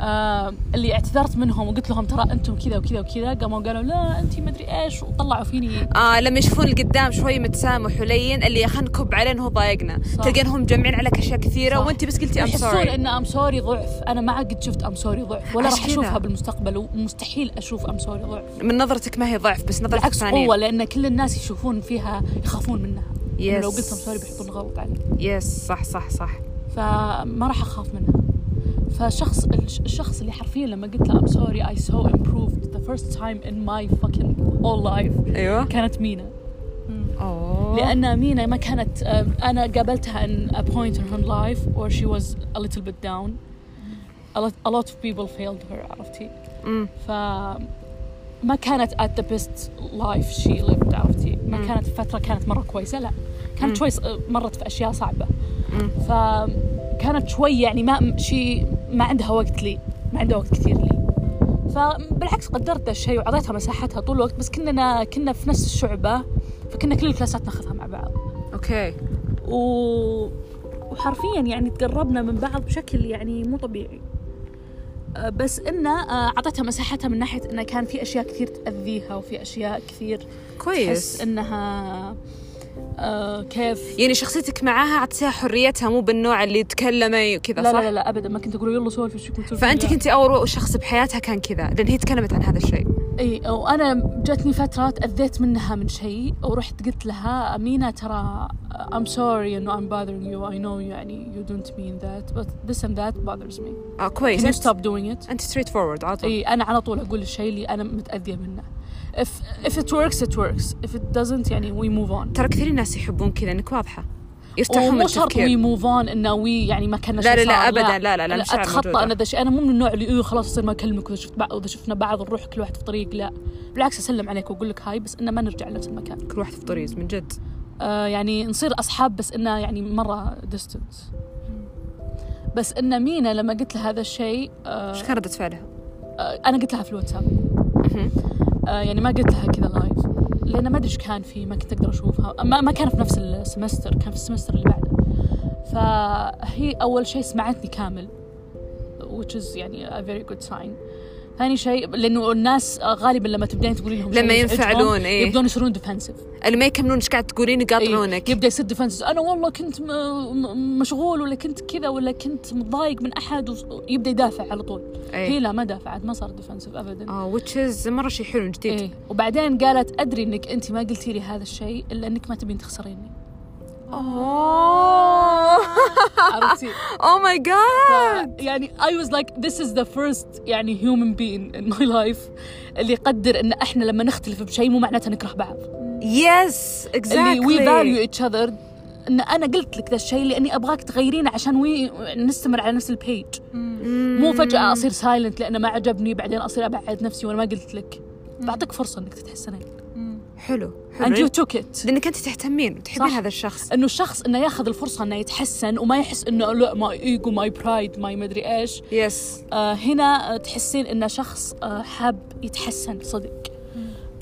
آه اللي اعتذرت منهم وقلت لهم ترى انتم كذا وكذا وكذا قاموا قالوا لا انت مدري ايش وطلعوا فيني آه لما يشوفون القدام شوي متسامح ولين اللي خلينا نكب عليه انه هو ضايقنا صح. تلقينهم مجمعين عليك اشياء كثيره صح. وانت بس قلتي ام يحسون سوري ان ام سوري ضعف انا ما قد شفت ام سوري ضعف ولا عشان راح اشوفها كذا. بالمستقبل ومستحيل اشوف ام سوري ضعف من نظرتك ما هي ضعف بس نظرتك بالعكس ثانيه قوه لان كل الناس يشوفون فيها يخافون منها إنه Yes. يعني لو قلت ام سوري بيحطون غلط علي يس صح صح صح فما راح اخاف منها فشخص الش- الشخص اللي حرفيا لما قلت له I'm sorry I so improved the first time in my fucking whole life ايوه كانت مينا اوه لأن مينا ما كانت أم، أنا قابلتها in a point in her life where she was a little bit down a lot, a lot of people failed her عرفتي أمم. ف ما كانت at the best life she lived عرفتي ما مم. كانت فترة كانت مرة كويسة لا مم. كانت شوي ص- مرت في أشياء صعبة مم. فكانت شوي يعني ما شي ما عندها وقت لي ما عندها وقت كثير لي فبالعكس قدرت ذا الشيء وعطيتها مساحتها طول الوقت بس كنا كنا في نفس الشعبة فكنا كل الكلاسات ناخذها مع بعض اوكي و... وحرفيا يعني تقربنا من بعض بشكل يعني مو طبيعي أه، بس انه أه، اعطتها مساحتها من ناحيه انه كان في اشياء كثير تاذيها وفي اشياء كثير تحس كويس انها أه، كيف يعني شخصيتك معاها اعطيتها حريتها مو بالنوع اللي تكلمي لا وكذا صح؟ لا لا, لا ابدا ما كنت اقول يلا سولف ايش كنت فانت كنتي اول شخص بحياتها كان كذا لان هي تكلمت عن هذا الشيء اي وانا جاتني فتره تاذيت منها من شيء ورحت قلت لها امينه ترى آه، I'm sorry انه I'm bothering you I know يعني you don't mean that but this and that bothers me اه كويس can you انت, stop doing it انت ستريت فورورد على طول اي انا إيه، على طول اقول الشيء اللي انا متاذيه منه if if it works it works if it doesn't يعني we move on ترى كثير ناس يحبون كذا انك واضحه يرتاحون من ومو شرط التفكير we move on انه we يعني ما كنا لا لا شي لا صار. ابدا لا لا لا لا مش شعر اتخطى موجودة. انا ذا الشيء انا مو من النوع اللي إيه خلاص اصير ما اكلمك واذا شفت بعض اذا شفنا بعض نروح كل واحد في طريق لا بالعكس اسلم عليك واقول لك هاي بس انه ما نرجع لنفس المكان كل واحد في طريق من جد آه يعني نصير اصحاب بس انه يعني مره distance بس ان مينا لما قلت لها هذا الشيء آه ايش كان ردة فعلها؟ آه، انا قلت لها في الواتساب آه، يعني ما قلت لها كذا لايف لان ما ادري ايش كان فيه ما كنت اقدر اشوفها ما, ما كان في نفس السمستر كان في السمستر اللي بعده فهي اول شيء سمعتني كامل which is يعني a very good sign ثاني شيء لانه الناس آه، غالبا لما تبدين تقولي لهم شيء لما يزعجهم، ينفعلون، إيه. يبدون يصيرون ديفنسيف اللي ما يكملون ايش قاعد تقولين يقاطعونك يبدا يصير ديفنسز انا والله كنت م- م- مشغول ولا كنت كذا ولا كنت متضايق من احد ويبدا يدافع على طول إيه. هي لا ما دافعت ما صارت ديفنسيف ابدا اه وتشز مره شيء حلو جديد آه، إيه. وبعدين قالت ادري انك انت ما قلتي لي هذا الشيء الا انك ما تبين تخسريني (laughs) اوه عرفتي اوه ماي جاد يعني I was like this is the first يعني human being in my life اللي يقدر ان احنا لما نختلف بشيء مو معناته نكره بعض يس اللي we اكزاكتلي value each other ان انا قلت لك ذا الشيء لاني ابغاك تغيرينه عشان وي نستمر على نفس البيج مو فجاه اصير سايلنت لانه ما عجبني بعدين اصير ابعد نفسي وانا ما قلت لك بعطيك فرصه انك تتحسنين حلو and حلو you took it لانك انت تهتمين وتحبين صح. هذا الشخص انه الشخص انه ياخذ الفرصه انه يتحسن وما يحس انه لا ماي ايجو ماي برايد ماي مدري ايش يس آه هنا آه، تحسين انه شخص آه حاب يتحسن صدق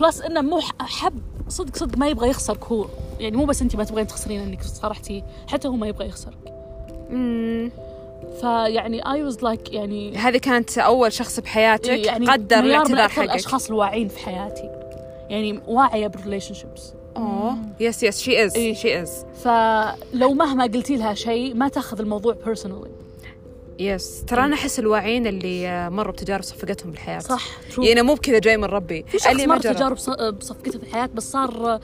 بلس انه مو ح- حاب صدق صدق ما يبغى يخسرك هو يعني مو بس انت ما تبغين تخسرين انك صرحتي حتى هو ما يبغى يخسرك مم. فيعني اي واز لايك يعني هذه كانت اول شخص بحياتك يعني قدر مليار من الاعتذار اكثر حقك الاشخاص الواعين في حياتي يعني واعيه بالريليشن شيبس اوه يس يس شي از إيه. شي از فلو مهما قلتي لها شيء ما تاخذ الموضوع بيرسونالي يس ترى انا احس الواعيين اللي آه، مروا بتجارب صفقتهم بالحياه إيه. صح true. يعني مو بكذا جاي من ربي في شخص اللي ما مر جرب. تجارب ص- بصفقته في الحياة بس صار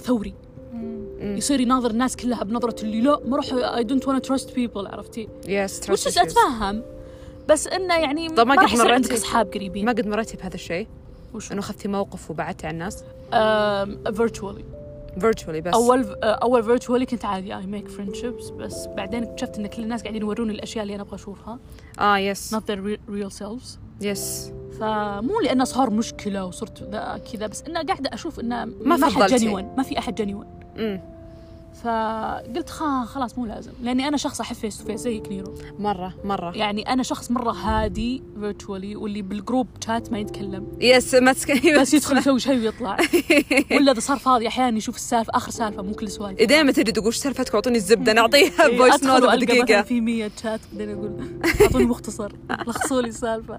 ثوري يصير يناظر الناس كلها بنظرة اللي لا ما روح اي دونت ونت تراست بيبل عرفتي؟ يس trust وش issues. اتفهم بس انه يعني طب ما ما قد راح يصير مريتي- عندك اصحاب قريبين ما قد مريتي بهذا الشيء وش انه اخذتي موقف وبعدتي عن الناس فيرتشوالي فيرتشولي بس اول آه، اول فيرتشوالي كنت عادي اي ميك فريندشيبس بس بعدين اكتشفت ان كل الناس قاعدين يوروني الاشياء اللي انا ابغى اشوفها اه يس not their real selves يس فمو لانه صار مشكله وصرت ذا- كذا بس انه قاعده اشوف ما انه ما, ما حد فضلتي. جنيون ما في احد جنيون امم فقلت خا- خلاص مو لازم لاني انا شخص احب فيس تو فيس زيك نيرو مره مره يعني انا شخص مره هادي فيرتشوالي واللي بالجروب شات ما يتكلم يس ما تسك- (laughs) بس يدخل يسوي شيء ويطلع ولا اذا صار فاضي احيانا يشوف السالفه اخر سالفه مو كل (laughs) سوالف دائما تجي تقول ايش سالفتك اعطوني الزبده نعطيها إيه، فويس أدخل نوت وألقى مثلا دقيقه في 100 شات بعدين (laughs) اقول اعطوني مختصر لخصوا لي السالفه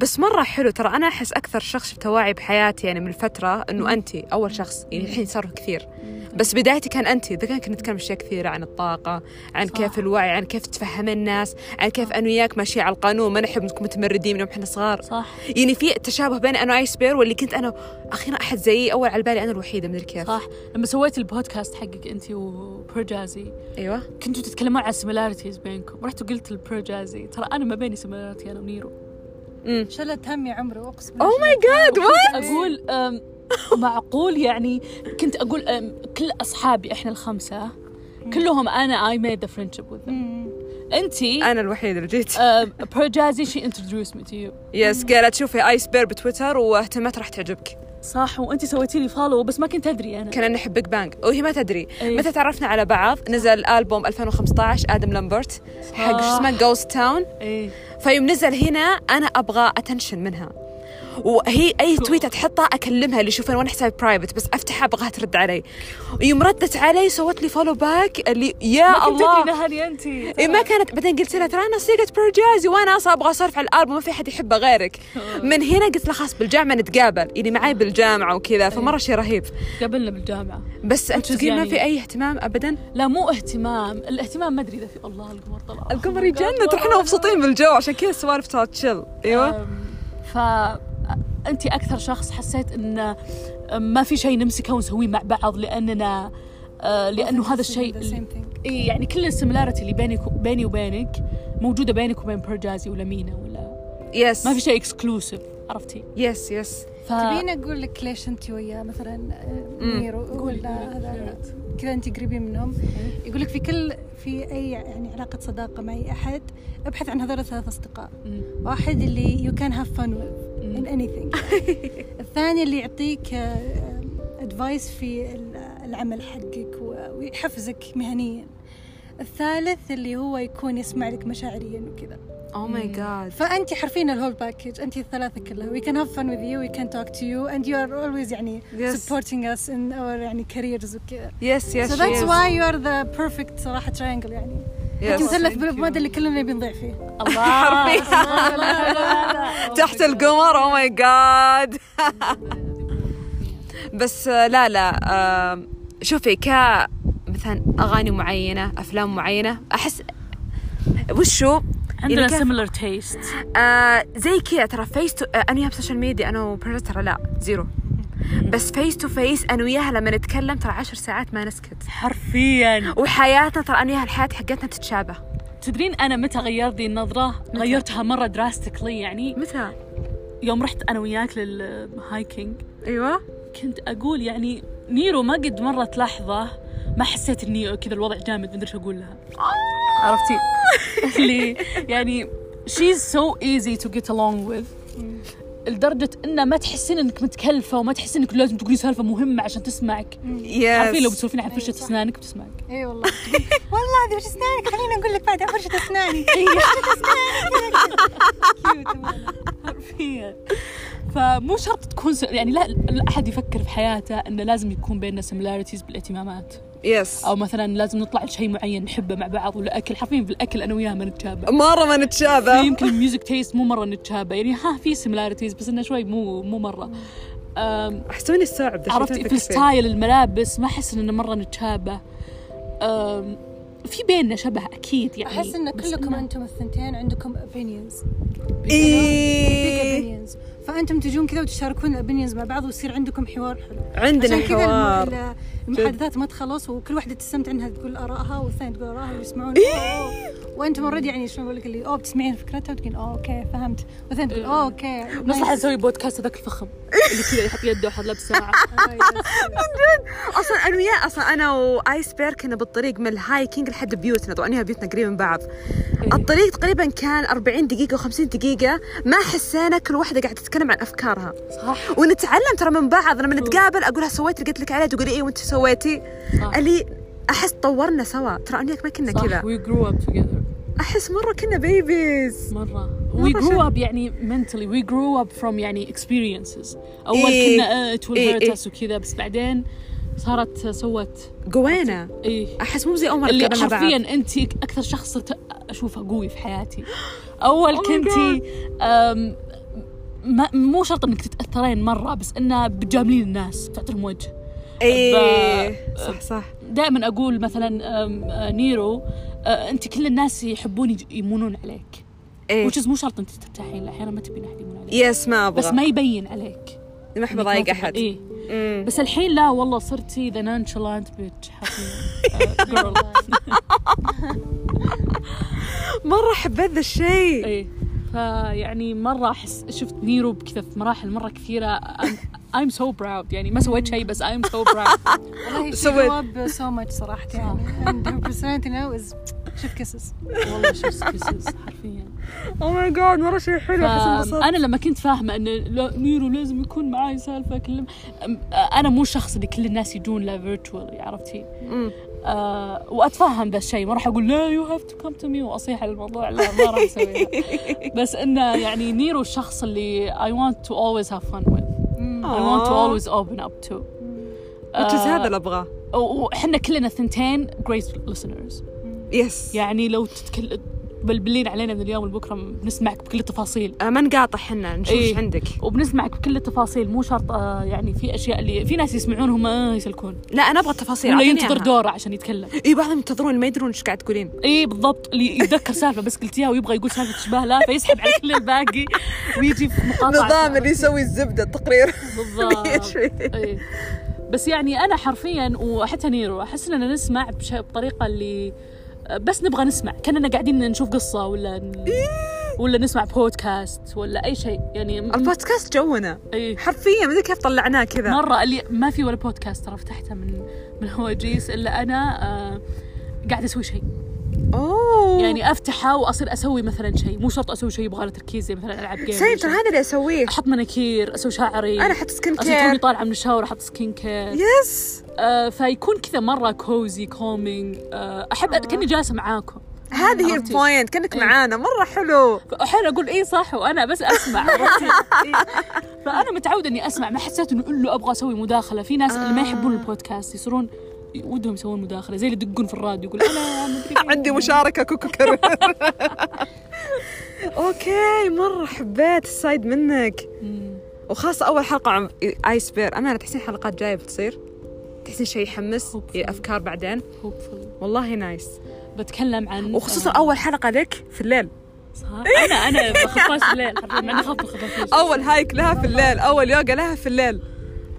بس مره حلو ترى انا احس اكثر شخص شفت توعي بحياتي يعني من الفتره انه انت اول شخص يعني الحين صاروا كثير بس بدايتي كان انت اذا كان كنا نتكلم اشياء كثيره عن الطاقه عن كيف الوعي عن كيف تفهم الناس عن كيف انا وياك ماشي على القانون ما نحب نكون متمردين من يوم احنا صغار صح يعني في تشابه بين انا وايس بير واللي كنت انا اخيرا احد زيي اول على بالي انا الوحيده من الكيف صح لما سويت البودكاست حقك انت وبرجازي ايوه كنتوا تتكلمون عن السيميلاريتيز بينكم رحت وقلت لبرجازي ترى انا ما بيني سيميلاريتي انا ونيرو شلت همي عمري اقسم اوه ماي جاد وات اقول أم، معقول يعني كنت اقول أم، كل اصحابي احنا الخمسه كلهم انا اي ميد ذا فريندشيب وذ انت انا الوحيده اللي جيت برجازي شي انتروديوس مي تو يو يس قالت شوفي ايس بير بتويتر واهتمت راح تعجبك صح وانت سويتي لي فولو بس ما كنت ادري انا كنا نحب بيج بانج وهي ما تدري أي. متى تعرفنا على بعض نزل البوم 2015 ادم لامبرت حق آه. شو اسمه جوست تاون ايه فيوم نزل هنا انا ابغى اتنشن منها وهي اي تويته تحطها اكلمها اللي شوفين وانا حسابي برايفت بس افتحها ابغاها ترد علي يوم ردت علي سوت لي فولو باك اللي يا كنت ادري الله نهاري انت إيه ما كانت بعدين قلت لها ترى انا صيغه برجازي وانا اصلا ابغى اصرف على الالبوم ما في احد يحبه غيرك آه. من هنا قلت لها خلاص بالجامعه نتقابل يعني معاي بالجامعه وكذا فمره شيء رهيب قابلنا بالجامعه بس انت is تقول ما يعني- في اي اهتمام ابدا لا مو اهتمام الاهتمام ما ادري اذا في الله القمر طلع القمر (laughs) يجنن احنا مبسوطين بالجو عشان كذا السوالف صارت تشل ايوه ف انت اكثر شخص حسيت ان ما في شيء نمسكه ونسويه مع بعض لاننا آه، لانه هذا الشيء اللي- إي، يعني كل السيميلاريتي اللي بينك بيني وبينك موجوده بينك وبين برجازي ولا مينا ولا يس ما في شيء اكسكلوسيف عرفتي؟ يس يس ف تبين اقول لك ليش انت ويا مثلا آه، ميرو ولا هذا كذا انت قريبين منهم يقول لك في كل في اي يعني علاقه صداقه مع اي احد ابحث عن هذول الثلاث اصدقاء مم. واحد اللي يو كان هاف فن in anything الثاني اللي يعطيك ادفايس في ال- العمل حقك و- ويحفزك مهنيا الثالث اللي هو يكون يسمع لك مشاعريا وكذا او ماي جاد فانت حرفيا الهول باكج انت الثلاثه كلها وي كان هاف فن وذ يو وي كان توك تو يو اند يو ار اولويز يعني Yes. سبورتنج us ان اور يعني كاريرز وكذا يس يس سو ذاتس واي يو ار ذا بيرفكت صراحه تراينجل يعني انت مثلث بالمود اللي كلنا نبي نضيع فيه الله تحت القمر Oh او ماي جاد (laughs) بس آه، لا لا آه، شوفي ك مثلا اغاني معينه افلام معينه احس وشو عندنا كيف- سيميلر تيست آه زي كذا ترى فيس تو آه انا وياها بالسوشيال ميديا انا وبرز ترى لا زيرو بس فيس تو فيس انا وياها لما نتكلم ترى عشر ساعات ما نسكت حرفيا وحياتنا ترى انا وياها الحياه حقتنا تتشابه تدرين انا متى غيرت ذي النظره؟ غيرتها مره دراستيكلي يعني متى؟ يوم رحت انا وياك للهايكينج ايوه كنت اقول يعني نيرو ما قد مرت لحظه ما حسيت اني كذا الوضع جامد ما ادري شو اقول لها آه. عرفتي اللي يعني she's so easy to get along with لدرجة انه ما تحسين انك متكلفة وما تحسين انك لازم تقولي سالفة مهمة عشان تسمعك عارفين لو يس بتسولفين عن فرشة اسنانك بتسمعك (laughs) اي (laughs) والله والله هذه وش اسنانك خليني اقول لك بعد عن فرشه اسناني (laughs) حرفيا فمو شرط تكون س... يعني لا لا احد يفكر في حياته انه لازم يكون بيننا similarities بالاهتمامات يس او مثلا لازم نطلع لشيء معين نحبه مع بعض ولا اكل حرفيا في الاكل انا وياها ما نتشابه مره ما نتشابه يمكن الميوزك تيست مو مره نتشابه يعني ها في سيميلاريتيز بس انه شوي مو مو مره أم، احسوني الصعب ذا عرفتي في ستايل الملابس ما احس انه مره نتشابه أم، في بيننا شبه اكيد يعني احس ان بس كلكم إنه- انتم الثنتين عندكم opinions big إيه opinions فانتم تجون كذا وتشاركون الابنيونز مع بعض ويصير عندكم حوار حلو عندنا عشان كذا الم- حوار ال- المحادثات ما تخلص وكل واحده تستمتع انها تقول ارائها والثانيه تقول ارائها ويسمعون إيه؟ وانتم اوريدي يعني شلون اقول لك اللي اوه بتسمعين فكرتها وتقول اوه اوكي فهمت والثانيه تقول اوه اوكي نصلح نسوي بودكاست هذاك الفخم اللي كذا يحط يده وحط لابس ساعه (laughs) اصلا انا وياه اصلا انا وايس بير كنا بالطريق من الهايكينج لحد بيوتنا طبعا إحنا بيوتنا قريب من بعض إيه. الطريق تقريبا كان 40 دقيقه و50 دقيقه ما حسينا كل واحده قاعده تتكلم عن افكارها صح ونتعلم ترى من بعض لما نتقابل اقولها سويت اللي قلت لك عليه تقولي ايه وانت إيه سويتي صح. اللي احس طورنا سوا ترى انا وياك ما كنا كذا صح وي جرو اب توجذر احس مره كنا بيبيز مره مرة وي جرو شيء. اب يعني mentally we grew up from يعني experiences اول إيه. كنا it will إيه، hurt إيه. us وكذا بس بعدين صارت سوت قوينا ايه احس مو زي اول مره اللي تقابلنا بعض. حرفيا انت اكثر شخص صرت اشوفه قوي في (gasps) حياتي اول Oh my كنتي أم، ما مو شرط انك تتاثرين مره بس انه بتجاملين الناس بتعطيهم وجه ايه ب- صح صح دائما اقول مثلا أم، آه، نيرو آه، انت كل الناس يحبون يج- يمونون عليك ايه وجز مو شرط انت ترتاحين له احيانا ما تبين احد يمون عليك يس ما ابغى بس ما يبين عليك ما احب إنك ما اضايق تبغى- احد ايه مم. بس الحين لا والله صرتي ذا نانشلانت (laughs) بيتش حرفيا مره حبيت ذا الشيء ايه فيعني مره احس شفت نيرو بكذا في مراحل مره كثيره I'm so proud يعني ما سويت شيء بس I'm so proud والله شي سويت. جواب سو ماتش صراحه يعني and her personality now is شوف كسس (laughs) والله شو excuses حرفيا او ماي جاد مره شيء حلو احس انبسطت انا لما كنت فاهمه ان لا نيرو لازم يكون معاي سالفه كلم انا مو الشخص اللي كل الناس يجون له فيرتشوال عرفتي مم. أه واتفهم ذا الشيء ما راح اقول لا يو هاف تو كم تو مي واصيح على الموضوع لا ما راح اسويها (laughs) بس انه يعني نيرو الشخص اللي I want to always have fun with I want to آه. always open up to Oh. Which is آه، هذا اللي ابغاه وحنا كلنا ثنتين great listeners يس يعني لو تتكل... تبلبلين علينا من اليوم لبكره بنسمعك بكل التفاصيل آه، ما نقاطع حنا نشوف ايش إيه. عندك وبنسمعك بكل التفاصيل مو شرط آه، يعني في اشياء اللي في ناس يسمعونهم آه يسلكون لا انا ابغى التفاصيل ولا طيب، أعطيني ينتظر إياها. دوره عشان يتكلم اي بعضهم ينتظرون ما يدرون ايش قاعد تقولين اي بالضبط اللي يتذكر سالفه بس قلتيها ويبغى يقول سالفه تشبه لا فيسحب على كل الباقي ويجي في مقاطعه اللي يسوي الزبده (laughs) التقرير بالضبط إيه. بس يعني انا حرفيا وحتى نيرو احس اننا نسمع بش... بطريقه اللي بس نبغى نسمع كاننا قاعدين نشوف قصه ولا ن... ولا نسمع بودكاست ولا اي شيء يعني (laughs) م- البودكاست جونا إيه. حرفيا ما ادري كيف طلعناه كذا مره اللي ما في ولا بودكاست ترى فتحته من من هواجيس الا انا آه قاعده اسوي شيء اوه يعني افتحه واصير اسوي مثلا شيء مو شرط اسوي شيء يبغى له تركيز زي مثلا العاب جيم سيف ترى هذا اللي اسويه احط مناكير اسوي شعري انا احط سكين اصير توني كير طالعه من الشاور احط سكين كير يس آه، فيكون كذا مره كوزي كومينج احب أ- كاني جالسه معاكم هذه هي عرفتي؟ البوينت كانك إيه. معانا مره حلو احيانا اقول اي إيه صح وانا بس اسمع (laughs) عرفتي؟ إيه. فانا متعوده اني اسمع ما حسيت انه الا ابغى اسوي مداخله في ناس اللي ما يحبون آه. البودكاست يصيرون ودهم يسوون مداخله زي اللي يدقون في الراديو يقول انا مدري إيه. عندي مشاركه كوكو (laughs) كرر اوكي مره حبيت السايد منك مم. وخاصة أول حلقة عن آيس بير أمانة تحسين حلقات جاية بتصير تحسين شيء يحمس Hopefully. أفكار بعدين Hopefully. والله نايس بتكلم عن وخصوصا آه، أول حلقة لك في الليل صح؟ انا انا بخفاش الليل حرفياً، مع اني خفت خفاش أول هايك لها في الليل أول يوغا لها في الليل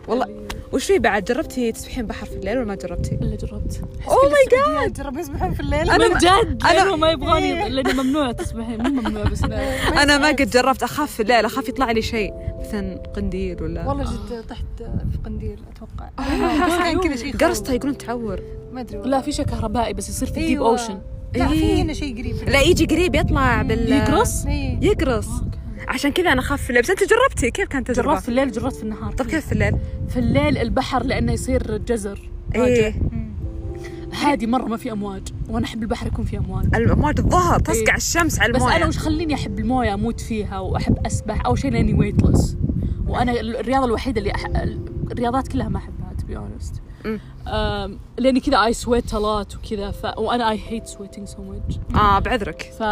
والله أيوة. وش في بعد جربتي تسبحين بحر في الليل ولا ما جربتي؟ اللي جربت أوه ماي جاد جرب يسبحون في الليل أنا من ما- جد أنا- إيه. لانه ما يبغاني لانه ممنوع تسمحين مو ممنوع (laughs) بس إنه- أنا ما قد جربت أخاف في الليل أخاف يطلع لي شيء مثلا قنديل ولا والله جد طحت في قنديل اتوقع آه، بس كان كذا شيء خوف. قرصة يقولون تعور ما ادري والله. لا في شيء كهربائي بس يصير في ديب أيوة. اوشن لا إيه. في هنا شيء قريب لا يجي قريب يطلع بال يقرص؟ آه، إيه. يقرص عشان كذا أنا أخاف في الليل بس أنت جربتي كيف كانت تجربة؟ جربت في الليل جربت في النهار طب كيف في الليل؟ في الليل البحر لانه يصير جزر إيه هادي مره ما في امواج وانا احب البحر يكون فيه امواج الامواج الظهر تصقع إيه. الشمس على بس المويه انا وش خليني احب المويه اموت فيها واحب اسبح او شيء لاني ويتلس وانا الرياضه الوحيده اللي أح... الرياضات كلها ما احبها تو بي اونست أمم. لاني كذا اي سويت لوت وكذا ف... وانا اي هيت سويتنج سو ماتش اه بعذرك ف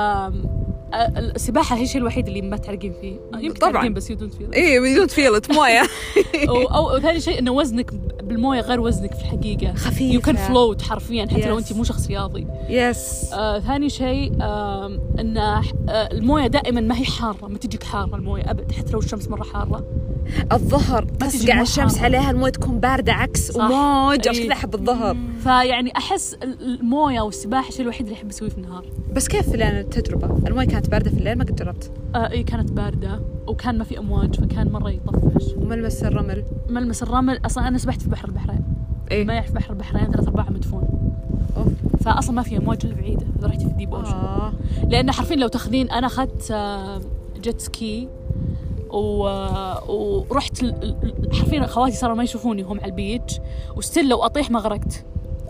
السباحه هي الشيء الوحيد اللي ما تعرقين فيه يمكن طبعاً. تعرقين بس يو دونت فيل ايه بدون فيلت (laughs) مويه أو- او أو ثاني شيء انه وزنك بالمويه غير وزنك في الحقيقه خفيفة. يو كان فلوت حرفيا حتى لو نعم. Yes. انت مو شخص رياضي يس آه ثاني شيء آه ان آه المويه دائما ما هي حاره ما تجيك حاره المويه ابد حتى لو الشمس مره حاره الظهر تجي تصقع موحة. الشمس عليها المويه تكون بارده عكس صح. وموج عشان إيه. كذا احب الظهر فيعني احس ال- المويه والسباحه الشيء الوحيد اللي احب اسويه في النهار بس كيف في الليل التجربه؟ المويه كانت بارده في الليل ما قد جربت آه اي كانت بارده وكان ما في امواج فكان مره يطفش وملمس الرمل ملمس الرمل اصلا انا سبحت في بحر البحرين ما ايه يعرف بحر البحرين ثلاث ارباعه مدفون أوف. فاصلا ما في امواج الا بعيده رحت في الديب اوشن آه. لان حرفيا لو تاخذين انا اخذت آه، جيت سكي و... آه، ورحت ال- ال- حرفيا خواتي صاروا ما يشوفوني وهم على البيتش وستيل لو اطيح ما غرقت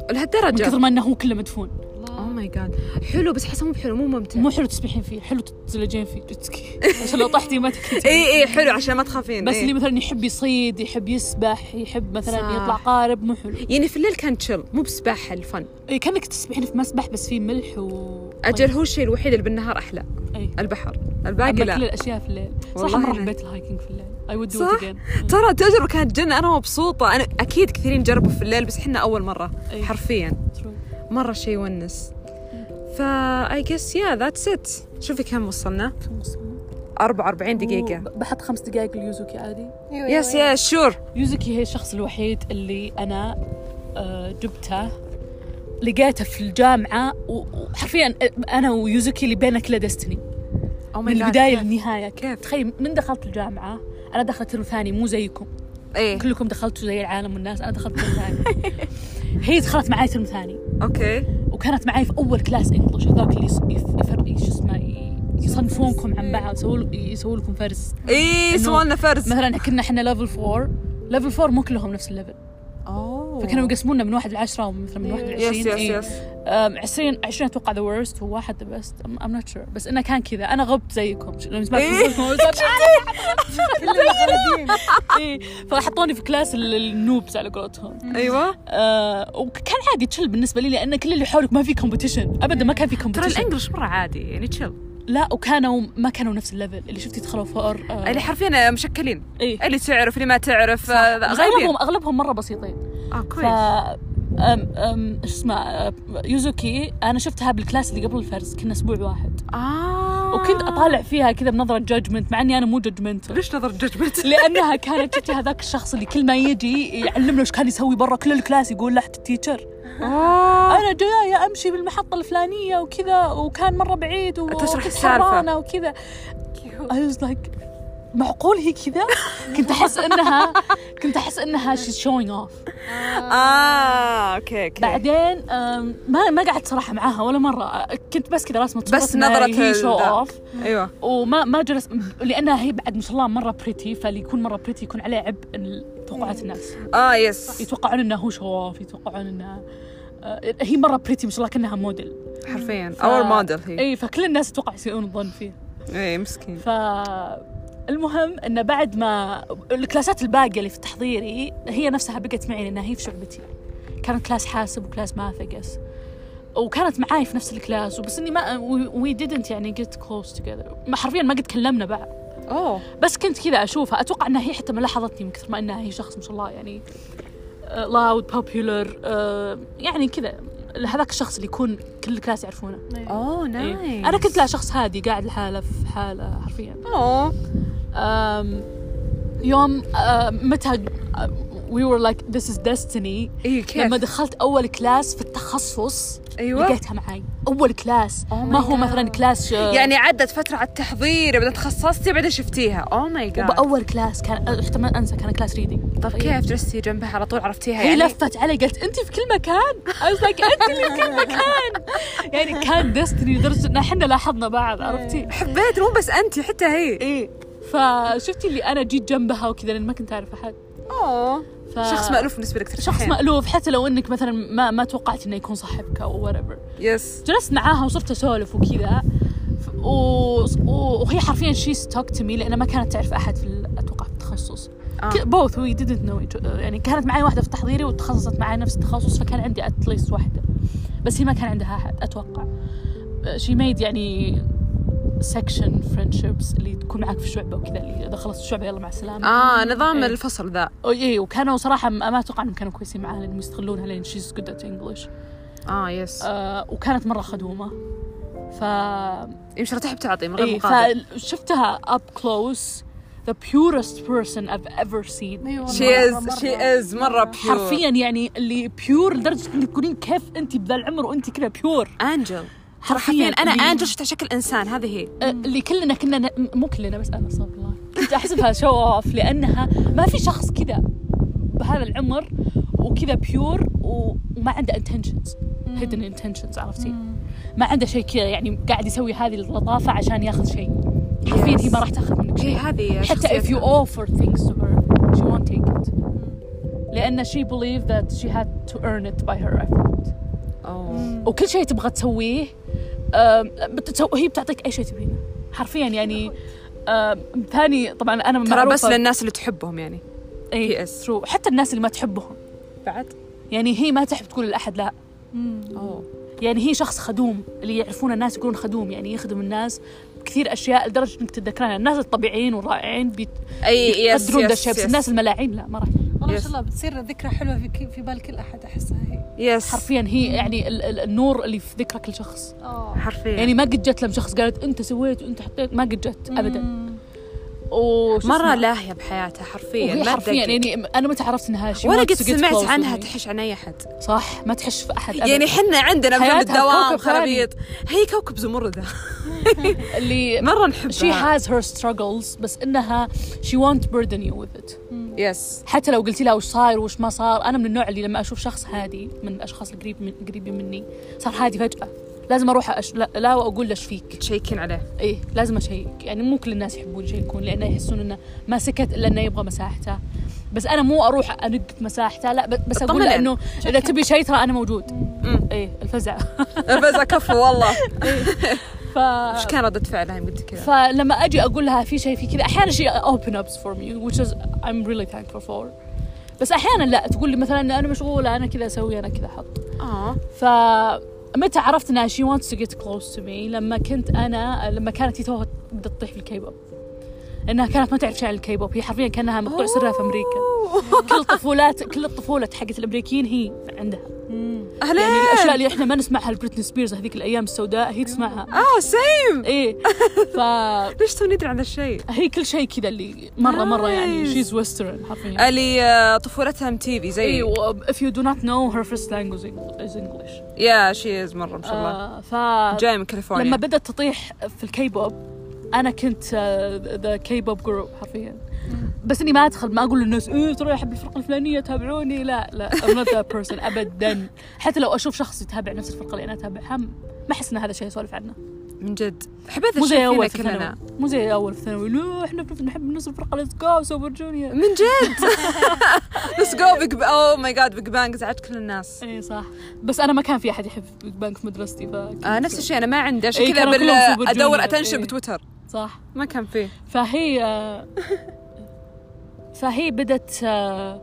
من لهالدرجه كثر ما انه هو كله مدفون اوه ماي جاد Oh حلو بس احسه مو بحلو مو ممتع مو حلو تسبحين فيه حلو تتزلجين فيه جتسكي (laughs) عشان لو طحتي ما تكتي اي اي إيه، حلو عشان ما تخافين إيه. بس إي. اللي مثلا يحب يصيد يحب يسبح يحب مثلا صح. يطلع قارب مو حلو يعني في الليل كان تشل مو بسباحه الفن إيه كانك تسبحين في مسبح بس فيه ملح و اجل هو الشيء الوحيد اللي بالنهار احلى اي طيب. البحر أما الباقي كل لا الاشياء في الليل صح والله مره أنا- حبيت الهايكينج في الليل اي وود دو صح؟ ات ترى التجربه كانت جنه انا مبسوطه انا اكيد كثيرين جربوا في الليل بس احنا اول مره إي. حرفيا مره شيء يونس فا اي جس يا ذاتس ات شوفي كم وصلنا 44 دقيقه بحط خمس دقائق ليوزوكي عادي أيوة، يس أيوة. يس شور يوزوكي هي الشخص الوحيد اللي انا آه، جبته لقيته في الجامعة و- وحرفيا أنا ويوزوكي اللي بيننا كله ديستني او من البداية للنهاية Oh كيف كيف؟ تخيل من دخلت الجامعة أنا دخلت ترم ثاني مو زيكم ايه كلكم دخلتوا زي العالم والناس أنا دخلت ترم (laughs) ثاني هي دخلت معي ترم ثاني اوكي وكانت معي في اول كلاس انجلش هذاك اللي يص- يف- يفر شو اسمه ي- يصنفونكم عن بعض يسووا يسووا لكم فرز ايه سوالنا فرز مثلا كنا احنا ليفل 4 ليفل 4 مو كلهم نفس الليفل اوه فكانوا يقسموننا من واحد لعشرة ومثلا من واحد يس يس لعشرين إيه. يس أم، عشرين عشرين اتوقع ذا ورست وواحد ذا بيست ام نوت شور بس انه كان كذا انا غبت زيكم ش- لما سمعت إيه. الفوز ما وصلت، كلنا غريبين. إيه. فحطوني في كلاس ال- النوبس على قولتهم ايوه أه، وكان عادي تشل بالنسبه لي لان كل اللي حولك ما في كومبتيشن ابدا ما كان في ترى كومبتيشن الانجلش مره عادي يعني تشيل لا وكانوا ما كانوا نفس الليفل اللي شفتي دخلوا فقر آه اللي حرفيا مشكلين ايه اللي تعرف اللي ما تعرف آه، بس غايبين اغلبهم اغلبهم مره بسيطين اه آه، ف كويس أم أم شو اسمه آه، يوزوكي انا شفتها بالكلاس اللي قبل الفرز كنا اسبوع واحد اه وكنت اطالع فيها كذا بنظره جادجمنت مع اني انا مو جادجمنت ليش نظر جدمت (laughs) لانها كانت تتي هذاك الشخص اللي كل ما يجي يعلمنا وش كان يسوي برا كل الكلاس يقول له التيتشر اوه انا جايه امشي بالمحطه الفلانيه وكذا وكان مره بعيد و- تشرح وكنت السالفة. حرانه وكذا I was like معقول هي كذا؟ كنت احس انها كنت احس انها she's showing off اه اوكي اوكي بعدين أم، ما ما قعدت صراحه معاها ولا مره كنت بس كذا راسمه بس نظرة هي ال- شو ذاك. اوف ايوه وما ما جلس لانها هي بعد ما شاء الله مره بريتي فاللي يكون مره بريتي يكون عليه عبء ال- توقعات الناس اه يس يتوقعون انه هو شو اوف يتوقعون انه أه، هي مره بريتي ما شاء الله كانها موديل حرفيا ف- إيه. اور موديل هي اي فكل الناس تتوقع يسيئون الظن فيه اي إيه، مسكين ف المهم انه بعد ما الكلاسات الباقيه اللي في تحضيري هي نفسها بقت معي لانها هي في شعبتي كانت كلاس حاسب وكلاس ماث اقس وكانت معاي في نفس الكلاس وبس اني ما وي ديدنت يعني جيت كلوز توجذر ما حرفيا ما قد تكلمنا بعد اوه بس كنت كذا اشوفها اتوقع انها هي حتى ما لاحظتني من كثر ما انها هي شخص ما شاء الله يعني لاود بوبيولر يعني كذا هذاك الشخص اللي يكون كل الكلاس يعرفونه اوه إيه. نايس انا كنت لا شخص هادي قاعد لحاله في حاله حرفيا اوه um, يوم uh, متى uh, we were like this is destiny اي إيه، كيف لما دخلت اول كلاس في التخصص أيوة. Oh لقيتها معي اول كلاس ما my هو God. مثلا كلاس uh, يعني عدت فترة على التحضير بعدين تخصصتي بعدين شفتيها Oh اوه ماي جاد وباول كلاس كان حتى ما انسى كان كلاس ريدنج طب طيب، كيف جلستي جنبها على طول عرفتيها إيه. هي يعني لفت علي قالت انت في كل مكان I was like انت اللي في كل مكان (laughs) يعني كان ديستني لدرجه ان احنا لاحظنا بعض عرفتي حبيت مو بس انت حتى هي ايه فشفتي اللي انا جيت جنبها وكذا لان ما كنت اعرف احد اوه ف... شخص مألوف بالنسبة لك شخص ترتاحين. مألوف حتى لو انك مثلا ما ما توقعت انه يكون صاحبك او وات يس جلست معاها وصرت اسولف وكذا ف- و... و... وهي حرفيا شي ستوك تو مي لان ما كانت تعرف احد في ال- اتوقع في التخصص آه. بوث وي ديدنت نو يعني كانت معي واحده في تحضيري وتخصصت معي نفس التخصص فكان عندي اتليست واحده بس هي ما كان عندها احد اتوقع شي ميد يعني سكشن فريندشيبس اللي تكون معك في شعبه وكذا اللي اذا خلصت الشعبه يلا مع السلامه اه نظام إيه. الفصل ذا اي وكانوا صراحه ما ما اتوقع انهم كانوا كويسين معاها لانهم يستغلونها لان شيز جود ات انجلش اه آه، يس وكانت مره خدومه ف يمشي رتاح بتعطي من غير إيه مقابل فشفتها up close the purest person I've ever seen أيوة، شي مرة- از مرة. شي از مرة بيور حرفيا يعني اللي بيور لدرجه انك تقولين كيف انت بذا العمر وانت كذا بيور انجل حرفيا حرفيا انا اللي- انجل شفت على شكل انسان هذه هي آه، اللي كلنا كنا ن- مو كلنا بس انا استغفر الله كنت احسبها شو اوف لانها ما في شخص كذا بهذا العمر وكذا بيور وما عنده انتنشنز هيدن انتنشنز عرفتي ما عنده شيء كذا يعني قاعد يسوي هذه اللطافه عشان ياخذ شيء حرفيا هي ما راح تاخذ منك هي شيء إيه، هذه حتى if you شخصيتها. offer things to her she won't take it لان she believed that she had to earn it by her effort وكل شيء تبغى تسويه آم، بتسو... هي بتعطيك اي شيء تبينه حرفيا يعني آم، ثاني طبعا انا ترى بس للناس اللي تحبهم يعني اي PS. ترو إيه، حتى الناس اللي ما تحبهم بعد يعني هي ما تحب تقول لاحد لا اوه يعني هي شخص خدوم اللي يعرفون الناس يقولون خدوم يعني يخدم الناس بكثير اشياء لدرجه انك تتذكرها الناس الطبيعيين والرائعين بيقدرون اي يس ذا يس الشيء بس الناس يس, الملاعين لا ما راح والله ما Yes. شاء الله بتصير ذكرى حلوه في ك- في بال كل احد احسها هي يس حرفيا هي يعني ال- ال- النور اللي في ذكرى كل شخص اه حرفيا يعني ما قد جت لم شخص قالت انت سويت وانت حطيت ما قد جت ابدا وش Mm. مرة اسمه؟ لاهية بحياتها حرفيا وهي ما حرفيا تدقق. يعني انا متى عرفت انها شيء ولا قد سمعت عنها تحش عن اي احد يعني. صح ما تحش في احد أبداً. يعني حنا عندنا في حياتها الدوام كوكب ثاني. إيه. خرابيط هي كوكب زمردة اللي مرة نحبها she has her struggles بس انها she won't burden you with it يس حتى لو قلتي لها وش صاير وش ما صار انا من النوع اللي لما اشوف شخص هادي من الاشخاص القريب من قريبين مني صار هادي فجاه لازم اروح أش... لا, لا واقول له ايش فيك تشيكين عليه ايه لازم اشيك يعني مو كل الناس يحبون يشيكون لانه يحسون انه ما سكت الا انه يبغى مساحته بس انا مو اروح انق في مساحته لا ب- بس اقول له اطمن انه اذا تبي شيء ترى انا موجود ايه الفزع بس كفو والله ف... ايش كان ردة فعلها يوم قلت كذا فلما اجي اقول لها في شيء في كذا احيانا شيء open ups for me which is I'm really thankful for بس احيانا لا تقول لي مثلا انا مشغوله انا كذا اسوي انا كذا احط اه فمتى عرفت انها she wants to get close to me لما كنت انا لما كانت هي توها بدها تطيح في الكيبوب لانها كانت ما تعرف شيء عن الكيبوب هي حرفيا كانها مقطوع سرها في امريكا كل طفولات كل الطفولة حقت الامريكيين هي عندها اهلين يعني الاشياء اللي احنا ما نسمعها لبريتني سبيرز هذيك الايام السوداء هي تسمعها اه سيم ايه ف ليش تو ندري عن هالشيء هي كل شيء كذا اللي مره مره يعني Nice. شيز ويسترن حرفيا اللي آه، طفولتها ام تي في زي ايوه if you do not know her first language is English يا شيز مرة ما شاء الله آه ف جاي من لما كاليفورنيا بدأت تطيح في الكيبوب انا كنت ذا كيبوب جروب حرفيا بس اني ما ادخل ما اقول للناس ايه ترى احب الفرقه الفلانيه تابعوني لا لا I'm not that person (laughs) ابدا حتى لو اشوف شخص يتابع نفس الفرقه اللي انا اتابعها م- ما احس ان هذا شيء اسولف عنه من جد حبيت مو زي فينا اول في ثانوي كلنا مو زي اول في ثانوي لا احنا بنف- نحب نفس الفرقه ليتس جو سوبر (laughs) جونيور من (laughs) جد ليتس جو بيج او ماي جاد بيج بانج زعجت كل الناس آه، اي إيه، صح بس انا ما كان في احد يحب بيج بانك في مدرستي ف آه نفس الشيء انا ما عندي عشان أيوه. إيه، كذا كانوا بال- كلهم سوبر ادور جونيور، اتنشن إيه. بتويتر صح ما كان فيه (laughs) فهي فهي بدت آه،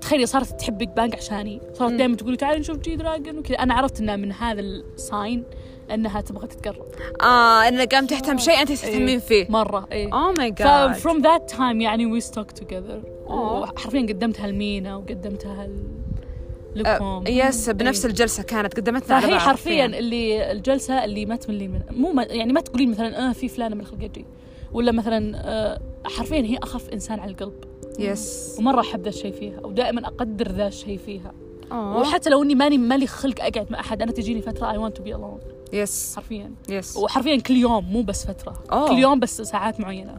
تخيلي صارت تحب بيج بانج عشاني صارت مم. دائما تقولي تعالي نشوف جي دراجون وكذا انا عرفت انها من هذا الساين انها تبغى تتقرب اه انها قام تهتم شيء انت تهتمين إيه. فيه Oh مره اي اوه ماي جاد فروم ذات تايم يعني وي ستوك توجذر أوه. وحرفيا قدمتها المينا وقدمتها ال- آه، لكم يس بنفس إيه. الجلسه كانت قدمتنا على فهي بعض حرفيا اللي الجلسه اللي ما تملين من مو ما يعني ما تقولين مثلا اه في فلانه من الخلقجي ولا مثلا آه، حرفيا هي اخف انسان على القلب يس ومره احب ذا الشيء فيها ودائما اقدر ذا الشيء فيها أوه. وحتى لو اني ماني مالي خلق اقعد مع احد انا تجيني فتره اي ونت تو بي الون يس حرفيا يس وحرفيا كل يوم مو بس فتره أوه. كل يوم بس (laughs) ساعات معينه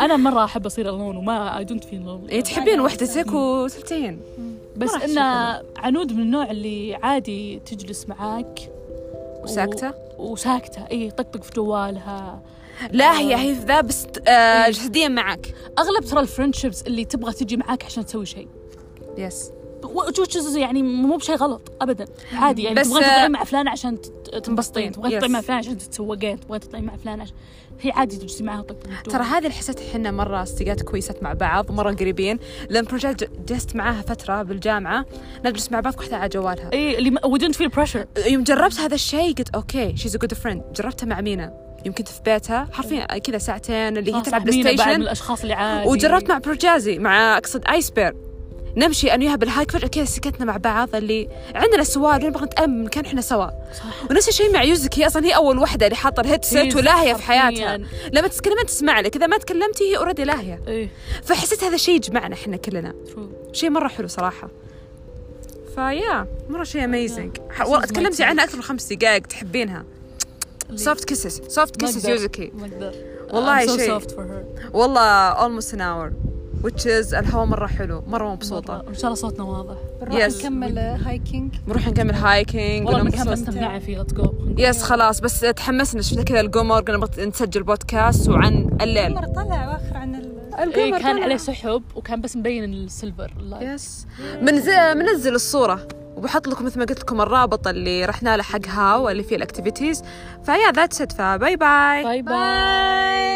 انا مره احب اصير الون وما اي دونت فيل إيه، لون تحبين وحدتك يعني وسلتين بس راح انه عنود من النوع اللي عادي تجلس معاك و- وساكتة؟ وساكته اي طقطق في جوالها لا هي هي في ذا بس إيه. آه جسديا معك اغلب ترى الفرندشيبس اللي تبغى تجي معاك عشان تسوي شيء يس وتشوز يعني مو بشيء غلط ابدا عادي يعني بس- آه تبغين تطلعين مع فلان عشان تت- تنبسطين. تنبسطين تبغين Yes. تطلعين مع فلان عشان تتسوقين تبغين تطلعين مع فلان عشان هي عادي تجلسي معها وتطلعين ترى هذه اللي حسيت احنا مره صديقات كويسات مع بعض مره قريبين لان بروجيت ج- جلست معاها فتره بالجامعه نجلس مع بعض كل واحدة على جوالها اي اللي وي دونت فيل بريشر يوم جربت هذا الشيء قلت اوكي شيز ا جود فريند جربتها مع مينا يوم كنت في بيتها حرفيا كذا ساعتين اللي هي تلعب بلاي إيه. بعد من ستيشن الاشخاص اللي عادي وجربت مع برجازي مع اقصد ايس بير نمشي انا وياها بالهايك فجاه كذا سكتنا مع بعض اللي عندنا سوالف نبغى نتامن كان احنا سوا صح. ونفس الشيء مع يوزك هي اصلا هي اول وحده اللي حاطه الهيدسيت هي ولاهيه في حرفياً. حياتها لما تتكلمين تسمع لك اذا ما تكلمتي هي اوريدي لاهيه اي فحسيت هذا الشيء يجمعنا احنا كلنا ترو شيء مره حلو صراحه فيا مره شيء اميزنج This is my تكلمتي team. عنها اكثر من خمس دقائق تحبينها سوفت كيسز سوفت كيسز يوزكي ما اقدر والله I'm so شيء. soft for her. والله almost an hour which is الهواء مرة حلو مرة مبسوطة مرة. ان شاء الله صوتنا واضح بنروح Yes. نكمل هايكينج نروح نكمل هايكينج والله المكان مبسوطة. مستمتعة فيه ليتس جو يس خلاص بس تحمسنا شفنا كذا القمر قلنا نبغى نسجل بودكاست وعن الليل عمر طلع واخر عن ال... إيه القمر كان طلع. عليه سحب وكان بس مبين السيلفر اللايت. يس منز... منزل الصورة وبحط لكم مثل ما قلت لكم الرابط اللي رحنا له حق هاو اللي فيه الاكتيفيتيز فيا ذاتس ات فباي باي باي باي